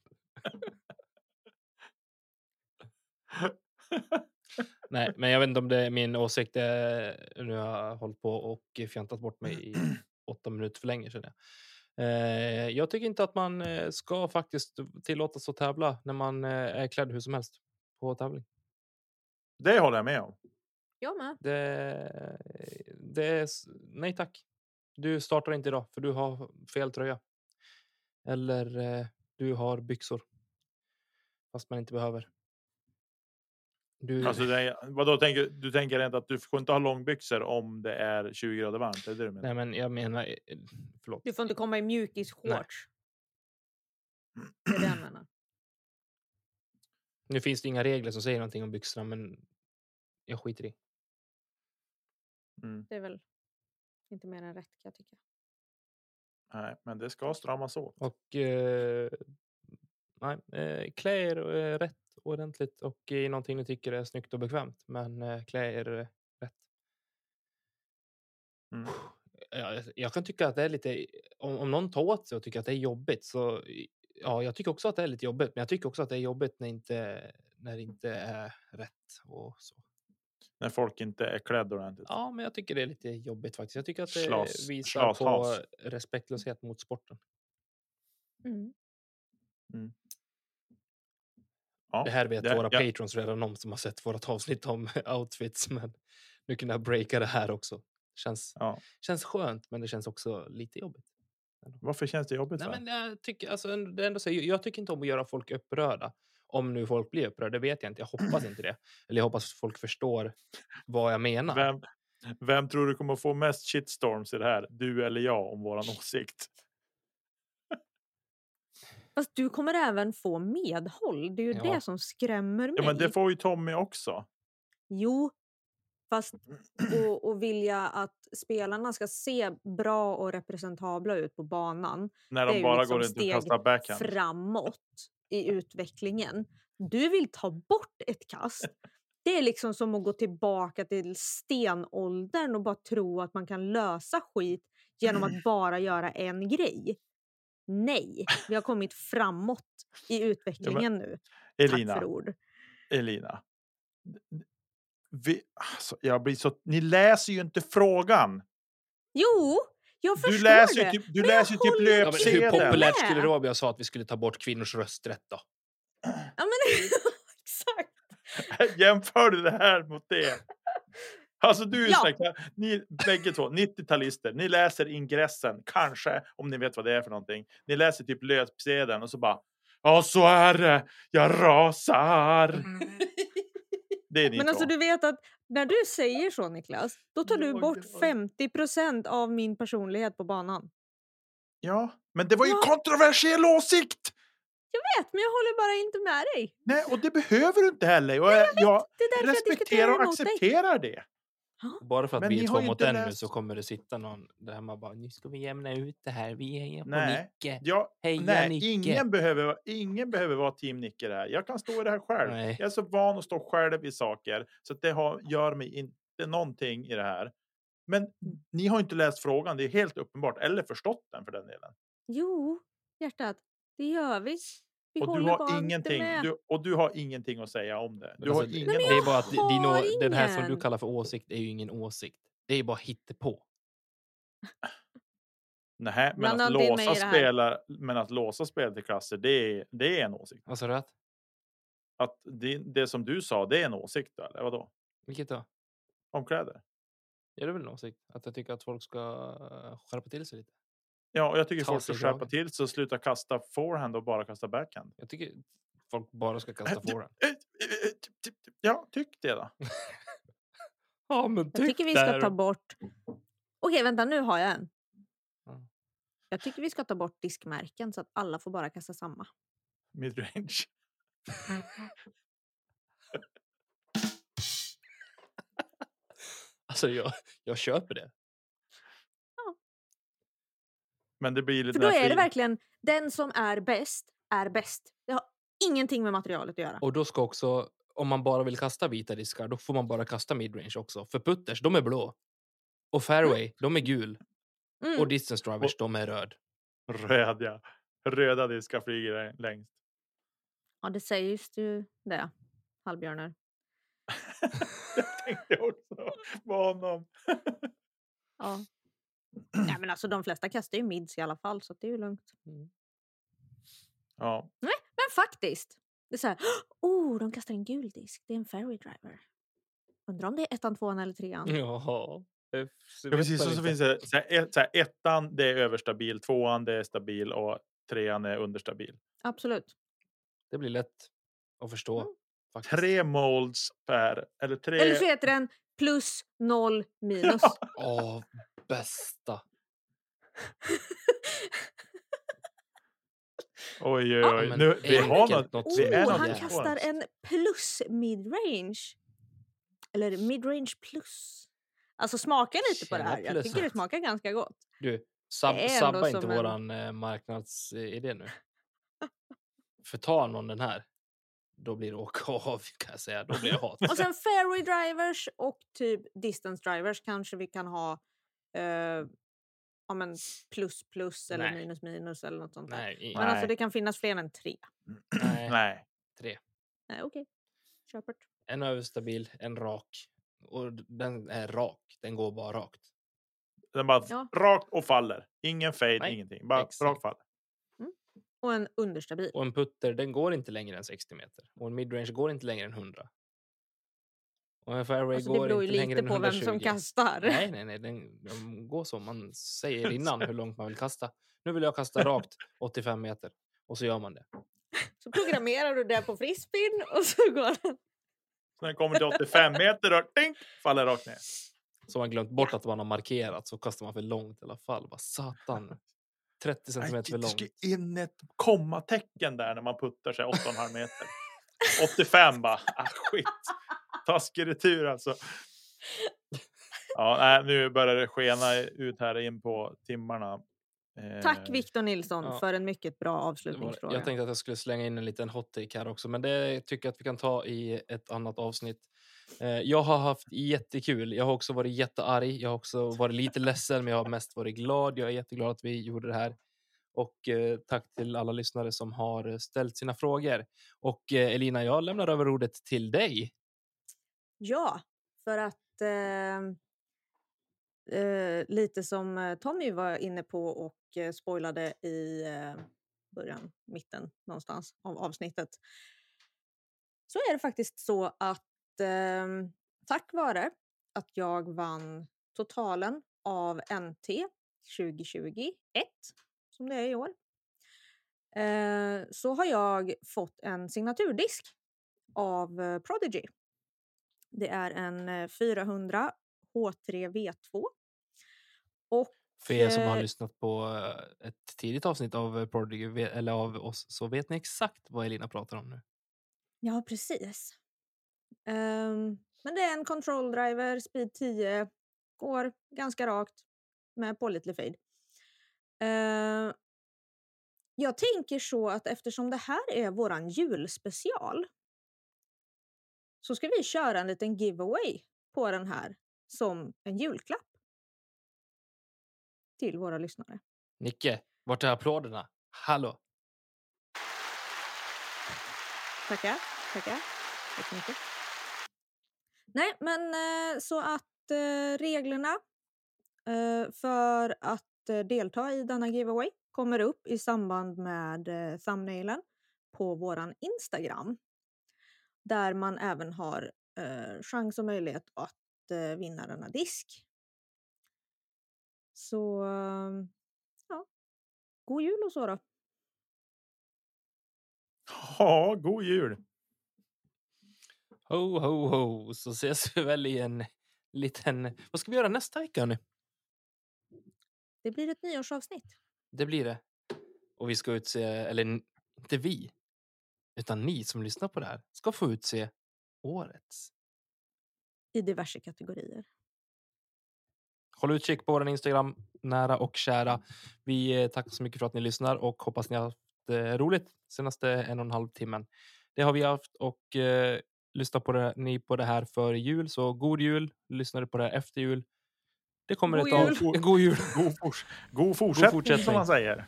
S2: Nej, men jag vet inte om det är min åsikt. eh, Nu har jag hållit på och fjantat bort mig i åtta minuter för länge känner jag. Eh, Jag tycker inte att man eh, ska faktiskt tillåtas att tävla när man eh, är klädd hur som helst på tävling.
S1: Det håller jag med om.
S3: Jag med.
S2: Det, det är, s- nej tack. Du startar inte idag för du har fel tröja. Eller eh, du har byxor. Fast man inte behöver. Du,
S1: Alltså, det, vadå, tänker, du tänker inte att du får inte ha långbyxor om det är 20 grader varmt? Är det det du menar?
S2: nej men jag menar, eh, eh, förlåt.
S3: Du får inte komma i mjukis-shorts. Det är det jag menar.
S2: Nu finns det inga regler som säger någonting om byxorna men jag skiter i.
S1: Mm,
S3: Det är väl inte mer än rätt kan jag tycka.
S1: nej, men det ska stramas åt.
S2: Och eh, nej, eh, klä er eh, rätt och ordentligt och i någonting ni tycker är snyggt och bekvämt. Men eh, klä er eh, rätt.
S1: Mm.
S2: Ja, jag- jag kan tycka att det är lite... Om, om någon tar åt sig och tycker att det är jobbigt så... Ja, jag tycker också att det är lite jobbigt. Men jag tycker också att det är jobbigt när, inte, när det inte är rätt och så.
S1: När folk inte är klädda ordentligt.
S2: Ja, men jag tycker det är lite jobbigt faktiskt. Jag tycker att det
S1: Schlas-
S2: visar
S1: schlashas.
S2: på respektlöshet mot sporten.
S3: Mm.
S1: Ja,
S2: Det här vet
S1: det-
S2: våra
S1: ja.
S2: patrons redan om som har sett vårt avsnitt om outfits. Men nu kunde jag breaka det här också. Känns,
S1: Ja.
S2: känns skönt, men det känns också lite jobbigt.
S1: Varför känns det jobbigt?
S2: Nej,
S1: för?
S2: men jag, tycker, alltså, ändå- det är ändå så, jag jag tycker inte om att göra folk upprörda. Om nu folk blir upprörda, det vet jag inte. Jag hoppas inte det. Eller jag hoppas folk förstår vad jag menar.
S1: Vem, vem tror du kommer få mest shitstorms i det här? Du eller jag om våran åsikt?
S3: Fast du kommer även få medhåll. Det är ju
S2: Ja.
S3: det som skrämmer mig.
S1: Ja, men det får ju Tommy också.
S3: Jo, fast och, och vilja att spelarna ska se bra och representabla ut på banan.
S1: När
S3: Det är
S1: de
S3: ju
S1: bara
S3: liksom
S1: går runt och
S3: steg
S1: kastar backhand.
S3: framåt i utvecklingen. Du vill ta bort ett kast. Det är liksom som att gå tillbaka till stenåldern och bara tro att man kan lösa skit genom att bara göra en grej. Nej, vi har kommit framåt i utvecklingen nu. Tack
S1: Elina,
S3: för ord.
S1: Elina. Vi, alltså, jag blir så, ni läser ju inte frågan.
S3: Jo, jag förstår
S1: Du läser
S3: det.
S1: ju typ, du
S3: men
S1: läser ju
S3: jag
S1: typ
S3: håller
S2: Ja, men hur
S3: Ser den.
S1: löpsedeln.
S3: populär-
S2: populärt skulle det vara om jag sa att vi skulle ta bort kvinnors rösträtt då?
S3: Ja, men, exakt.
S1: Jämför du det här mot det? Alltså du är
S3: Ja.
S1: ja. ni bägge två, 90-talister, ni läser ingressen, kanske, om ni vet vad det är för någonting. Ni läser typ löpsedeln och så bara, ja så är det, jag rasar. Det är ni
S3: Mm. Men
S1: två.
S3: alltså du vet att när du säger så Niklas, då tar du
S1: Jag
S3: bort
S1: har-
S3: 50 av min personlighet på banan.
S1: Ja, men det var ju
S3: Ja.
S1: kontroversiell åsikt!
S3: Jag vet, men jag håller bara inte med dig.
S1: Nej, och det behöver du inte heller. Och jag, jag
S3: Det är därför jag
S1: respekterar
S3: diskuterar
S1: och
S3: emot dig.
S1: accepterar det.
S2: Bara för att
S1: Men
S2: vi
S1: ni
S2: är
S1: har
S2: två
S1: ju
S2: mot
S1: inte
S2: en nu
S1: läst-
S2: så kommer det sitta någon där hemma bara nu ska vi jämna ut det här. Vi hejar på
S1: Nej.
S2: Nicke.
S1: Jag,
S2: Heja
S1: nej,
S2: Nicke.
S1: ingen behöver, vara- ingen behöver vara team Nicke det här. Jag kan stå i det här själv.
S2: Nej.
S1: Jag är så van att stå själv i saker så att det har, gör mig inte någonting i det här. Men ni har inte läst frågan, det är helt uppenbart, eller förstått den för den delen.
S3: Jo, hjärtat, det gör vi. Vi
S1: och du
S3: håller bara
S1: har,
S3: inte
S1: ingenting,
S3: med.
S1: du, och du har ingenting att säga om det.
S2: Men
S1: Du har
S2: alltså,
S1: ingen
S2: det
S3: men
S2: det är
S3: jag
S2: bara att
S3: har
S2: dino, den här som du
S3: ingen.
S2: kallar för åsikt är ju ingen åsikt. Det är ju bara hittepå.
S1: Nej, men
S3: Blanda
S1: att,
S3: inte in mig i
S1: låsa
S3: det här.
S1: spelar, men att låsa spel till klasser, det är, det är en åsikt.
S2: Vad sa du? att-
S1: Att det, det som du sa, det är en åsikt, då, eller vadå?
S2: Vilket då?
S1: Om kläder?
S2: Är det väl en åsikt? Att jag tycker att folk ska eh, skärpa till sig lite.
S1: Ja, och jag tycker
S2: Ta
S1: folk ska
S2: sig
S1: skärpa
S2: dragen.
S1: till sig och sluta kasta forehand och bara kasta backhand.
S2: Jag tycker folk bara ska
S1: Äh,
S2: kasta
S1: du-
S2: forehand.
S1: äh, äh, äh, typ, typ, typ. Ja, tyck det då.
S2: Ja, men
S3: Jag tycker vi
S2: där.
S3: ska ta bort... Okej, vänta, nu har jag en.
S2: Ja.
S3: Jag tycker vi ska ta bort diskmärken så att alla får bara kasta samma.
S1: Midrange.
S2: Alltså, jag, jag köper det.
S1: Men det blir lite
S3: För då är det
S1: därför-
S3: verkligen den som är bäst är bäst. Det har ingenting med materialet att göra.
S2: Och då ska också, om man bara vill kasta vita diskar, då får man bara kasta midrange också. För putters, de är blå. Och fairway, de är gul.
S3: Mm.
S2: Och distance drivers, de är röd.
S1: röd, ja. Röda diskar flyger lä- längst.
S3: Ja, det sägs ju det, halvbjörnar.
S1: jag tänkte också på honom.
S3: Ja. Nej, men alltså, de flesta kastar ju mids i alla fall, så att det är ju lugnt.
S1: Mm. Ja,
S3: Men faktiskt, det är så här, oh, de kastar en gul disk, det är en fairway driver. Undrar om det är ettan, tvåan eller trean.
S2: Mm. Jaha. Jag
S1: ja precis. Och så finns det så här, ett, så här, ettan, det är överstabil, tvåan, det är stabil och trean är understabil.
S3: Absolut.
S2: Det blir lätt att förstå.
S3: Mm.
S2: faktiskt.
S1: Tre molds per, eller tre...
S3: Eller så heter den plus noll minus.
S2: Åh, bästa.
S1: Oj, oj,
S2: Ja,
S1: oj.
S2: men
S1: Nu, vi har något.
S2: enkelt något
S1: det är
S3: Oh,
S1: något
S3: han
S1: i spåren.
S3: kastar en plus midrange. Eller midrange plus. Alltså smaka lite på det
S2: Tjena,
S3: här. Jag
S2: plus.
S3: tycker det smakar ganska gott.
S2: Du, sab,
S3: Det är ändå
S2: sabba inte
S3: som en-
S2: våran eh, marknadsidé nu. Förtar någon den här, då blir det åka av kan jag säga. Då blir det hat.
S3: Och sen fairway drivers och typ distance drivers kanske vi kan ha eh, ja, men plus plus eller
S2: Nej.
S3: minus minus eller något sånt där.
S2: Nej, i-
S3: Men alltså
S1: Nej.
S3: det kan finnas fler än tre.
S2: nej.
S1: Nej.
S3: Nej, Okej, köpert.
S2: En överstabil, en rak. Och d- den är rak. Den går bara rakt.
S1: Den bara
S3: Ja.
S1: rakt och faller. Ingen fade,
S2: Nej,
S1: ingenting. Bara
S2: exakt.
S1: rakt fall.
S3: Och en understabil.
S2: Och en putter, den går inte längre än 60 meter. Och en midrange går inte längre än 100. Och en fairway
S3: Alltså, det
S2: går
S3: beror ju
S2: inte längre
S3: lite
S2: än
S3: på
S2: 120.
S3: vem som kastar.
S2: Nej, nej, nej. Den, de går som man säger innan hur långt man vill kasta. Nu vill jag kasta rakt 85 meter. Och så gör man det.
S3: Så programmerar du det på frisbeen och så går den.
S1: Så när den kommer till 85 meter då, ding, faller rakt ner.
S2: Så har man glömt bort att man har markerat så kastar man för långt i alla fall. Bara satan. 30
S1: Nej,
S2: centimeter för
S1: det ska
S2: långt.
S1: in ett kommatecken där när man puttar sig 8,5 meter. 85 bara, ah, skit. Taskig retur alltså. Ja, nej, nu börjar det skena ut här in på timmarna.
S3: Tack
S1: Eh,
S3: Viktor Nilsson
S2: ja.
S3: för en mycket bra
S2: Det var-
S3: avslutningsfråga.
S2: Jag tänkte att jag skulle slänga in en liten hot take här också, men det tycker jag att vi kan ta i ett annat avsnitt. Eh, Jag har haft jättekul. Jag har också varit jättearg. Jag har också varit lite ledsen, men jag har mest varit glad. Jag är jätteglad att vi gjorde det här Och eh, tack till alla lyssnare som har eh, ställt sina frågor. Och eh, Elina, jag lämnar över ordet till dig.
S3: Ja, för att eh, eh, lite som eh, Tommy var inne på och eh, spoilade i eh, början, mitten någonstans av avsnittet så är det faktiskt så att eh, tack vare att jag vann totalen av NT 2021 som det är i år eh, så har jag fått en signaturdisk av eh, Prodigy. Det är en eh, 400 H3V2. Och
S2: För er som har
S3: Eh.
S2: lyssnat på eh, ett tidigt avsnitt av eh, Prodigy, ve- eller av oss, så vet ni exakt vad Elina pratar om nu.
S3: ja, precis. Ehm, men det är en control driver, speed 10, går ganska rakt med pålitlig fade. Ehm, jag tänker så att eftersom det här är våran julspecial så ska vi köra en liten giveaway på den här som en julklapp till våra lyssnare.
S2: Nicke, vart är applåderna? Hallå!
S3: Tackar, tackar. Tack så mycket. Nej, men eh, så att eh, reglerna eh, för att eh, delta i denna giveaway kommer upp i samband med eh, thumbnailen på våran Instagram. Där man även har eh, chans och möjlighet att eh, vinna denna disk. Så eh, ja, god jul och så då.
S1: Ja, god jul!
S2: Ho, ho, ho, så ses vi väl i en liten... Vad ska vi göra nästa vecka, hörni?
S3: Det blir ett nyårsavsnitt.
S2: Det blir det. Och vi ska utse, eller n- inte vi, utan ni som lyssnar på det här ska få utse årets.
S3: i diverse kategorier.
S2: Håll utkik på vår Instagram, nära och kära. Vi eh, tackar så mycket för att ni lyssnar och hoppas ni har haft eh, roligt senaste en och en halv timmen. Det har vi haft och eh, lyssnar på det, ni på det här före jul, så god jul. Lyssnar du på det här efter jul? Det kommer
S3: God
S2: ett av...
S1: jul.
S2: God jul!
S1: God, fors- god, fortsättning, som
S2: fortsättning.
S1: man säger.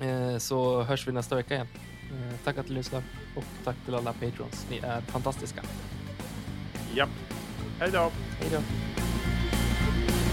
S2: Eh, så hörs vi nästa vecka igen. Eh, tack att ni lyssnar och tack till alla patrons. Ni är fantastiska.
S1: Ja. Hej då!
S2: Hej då!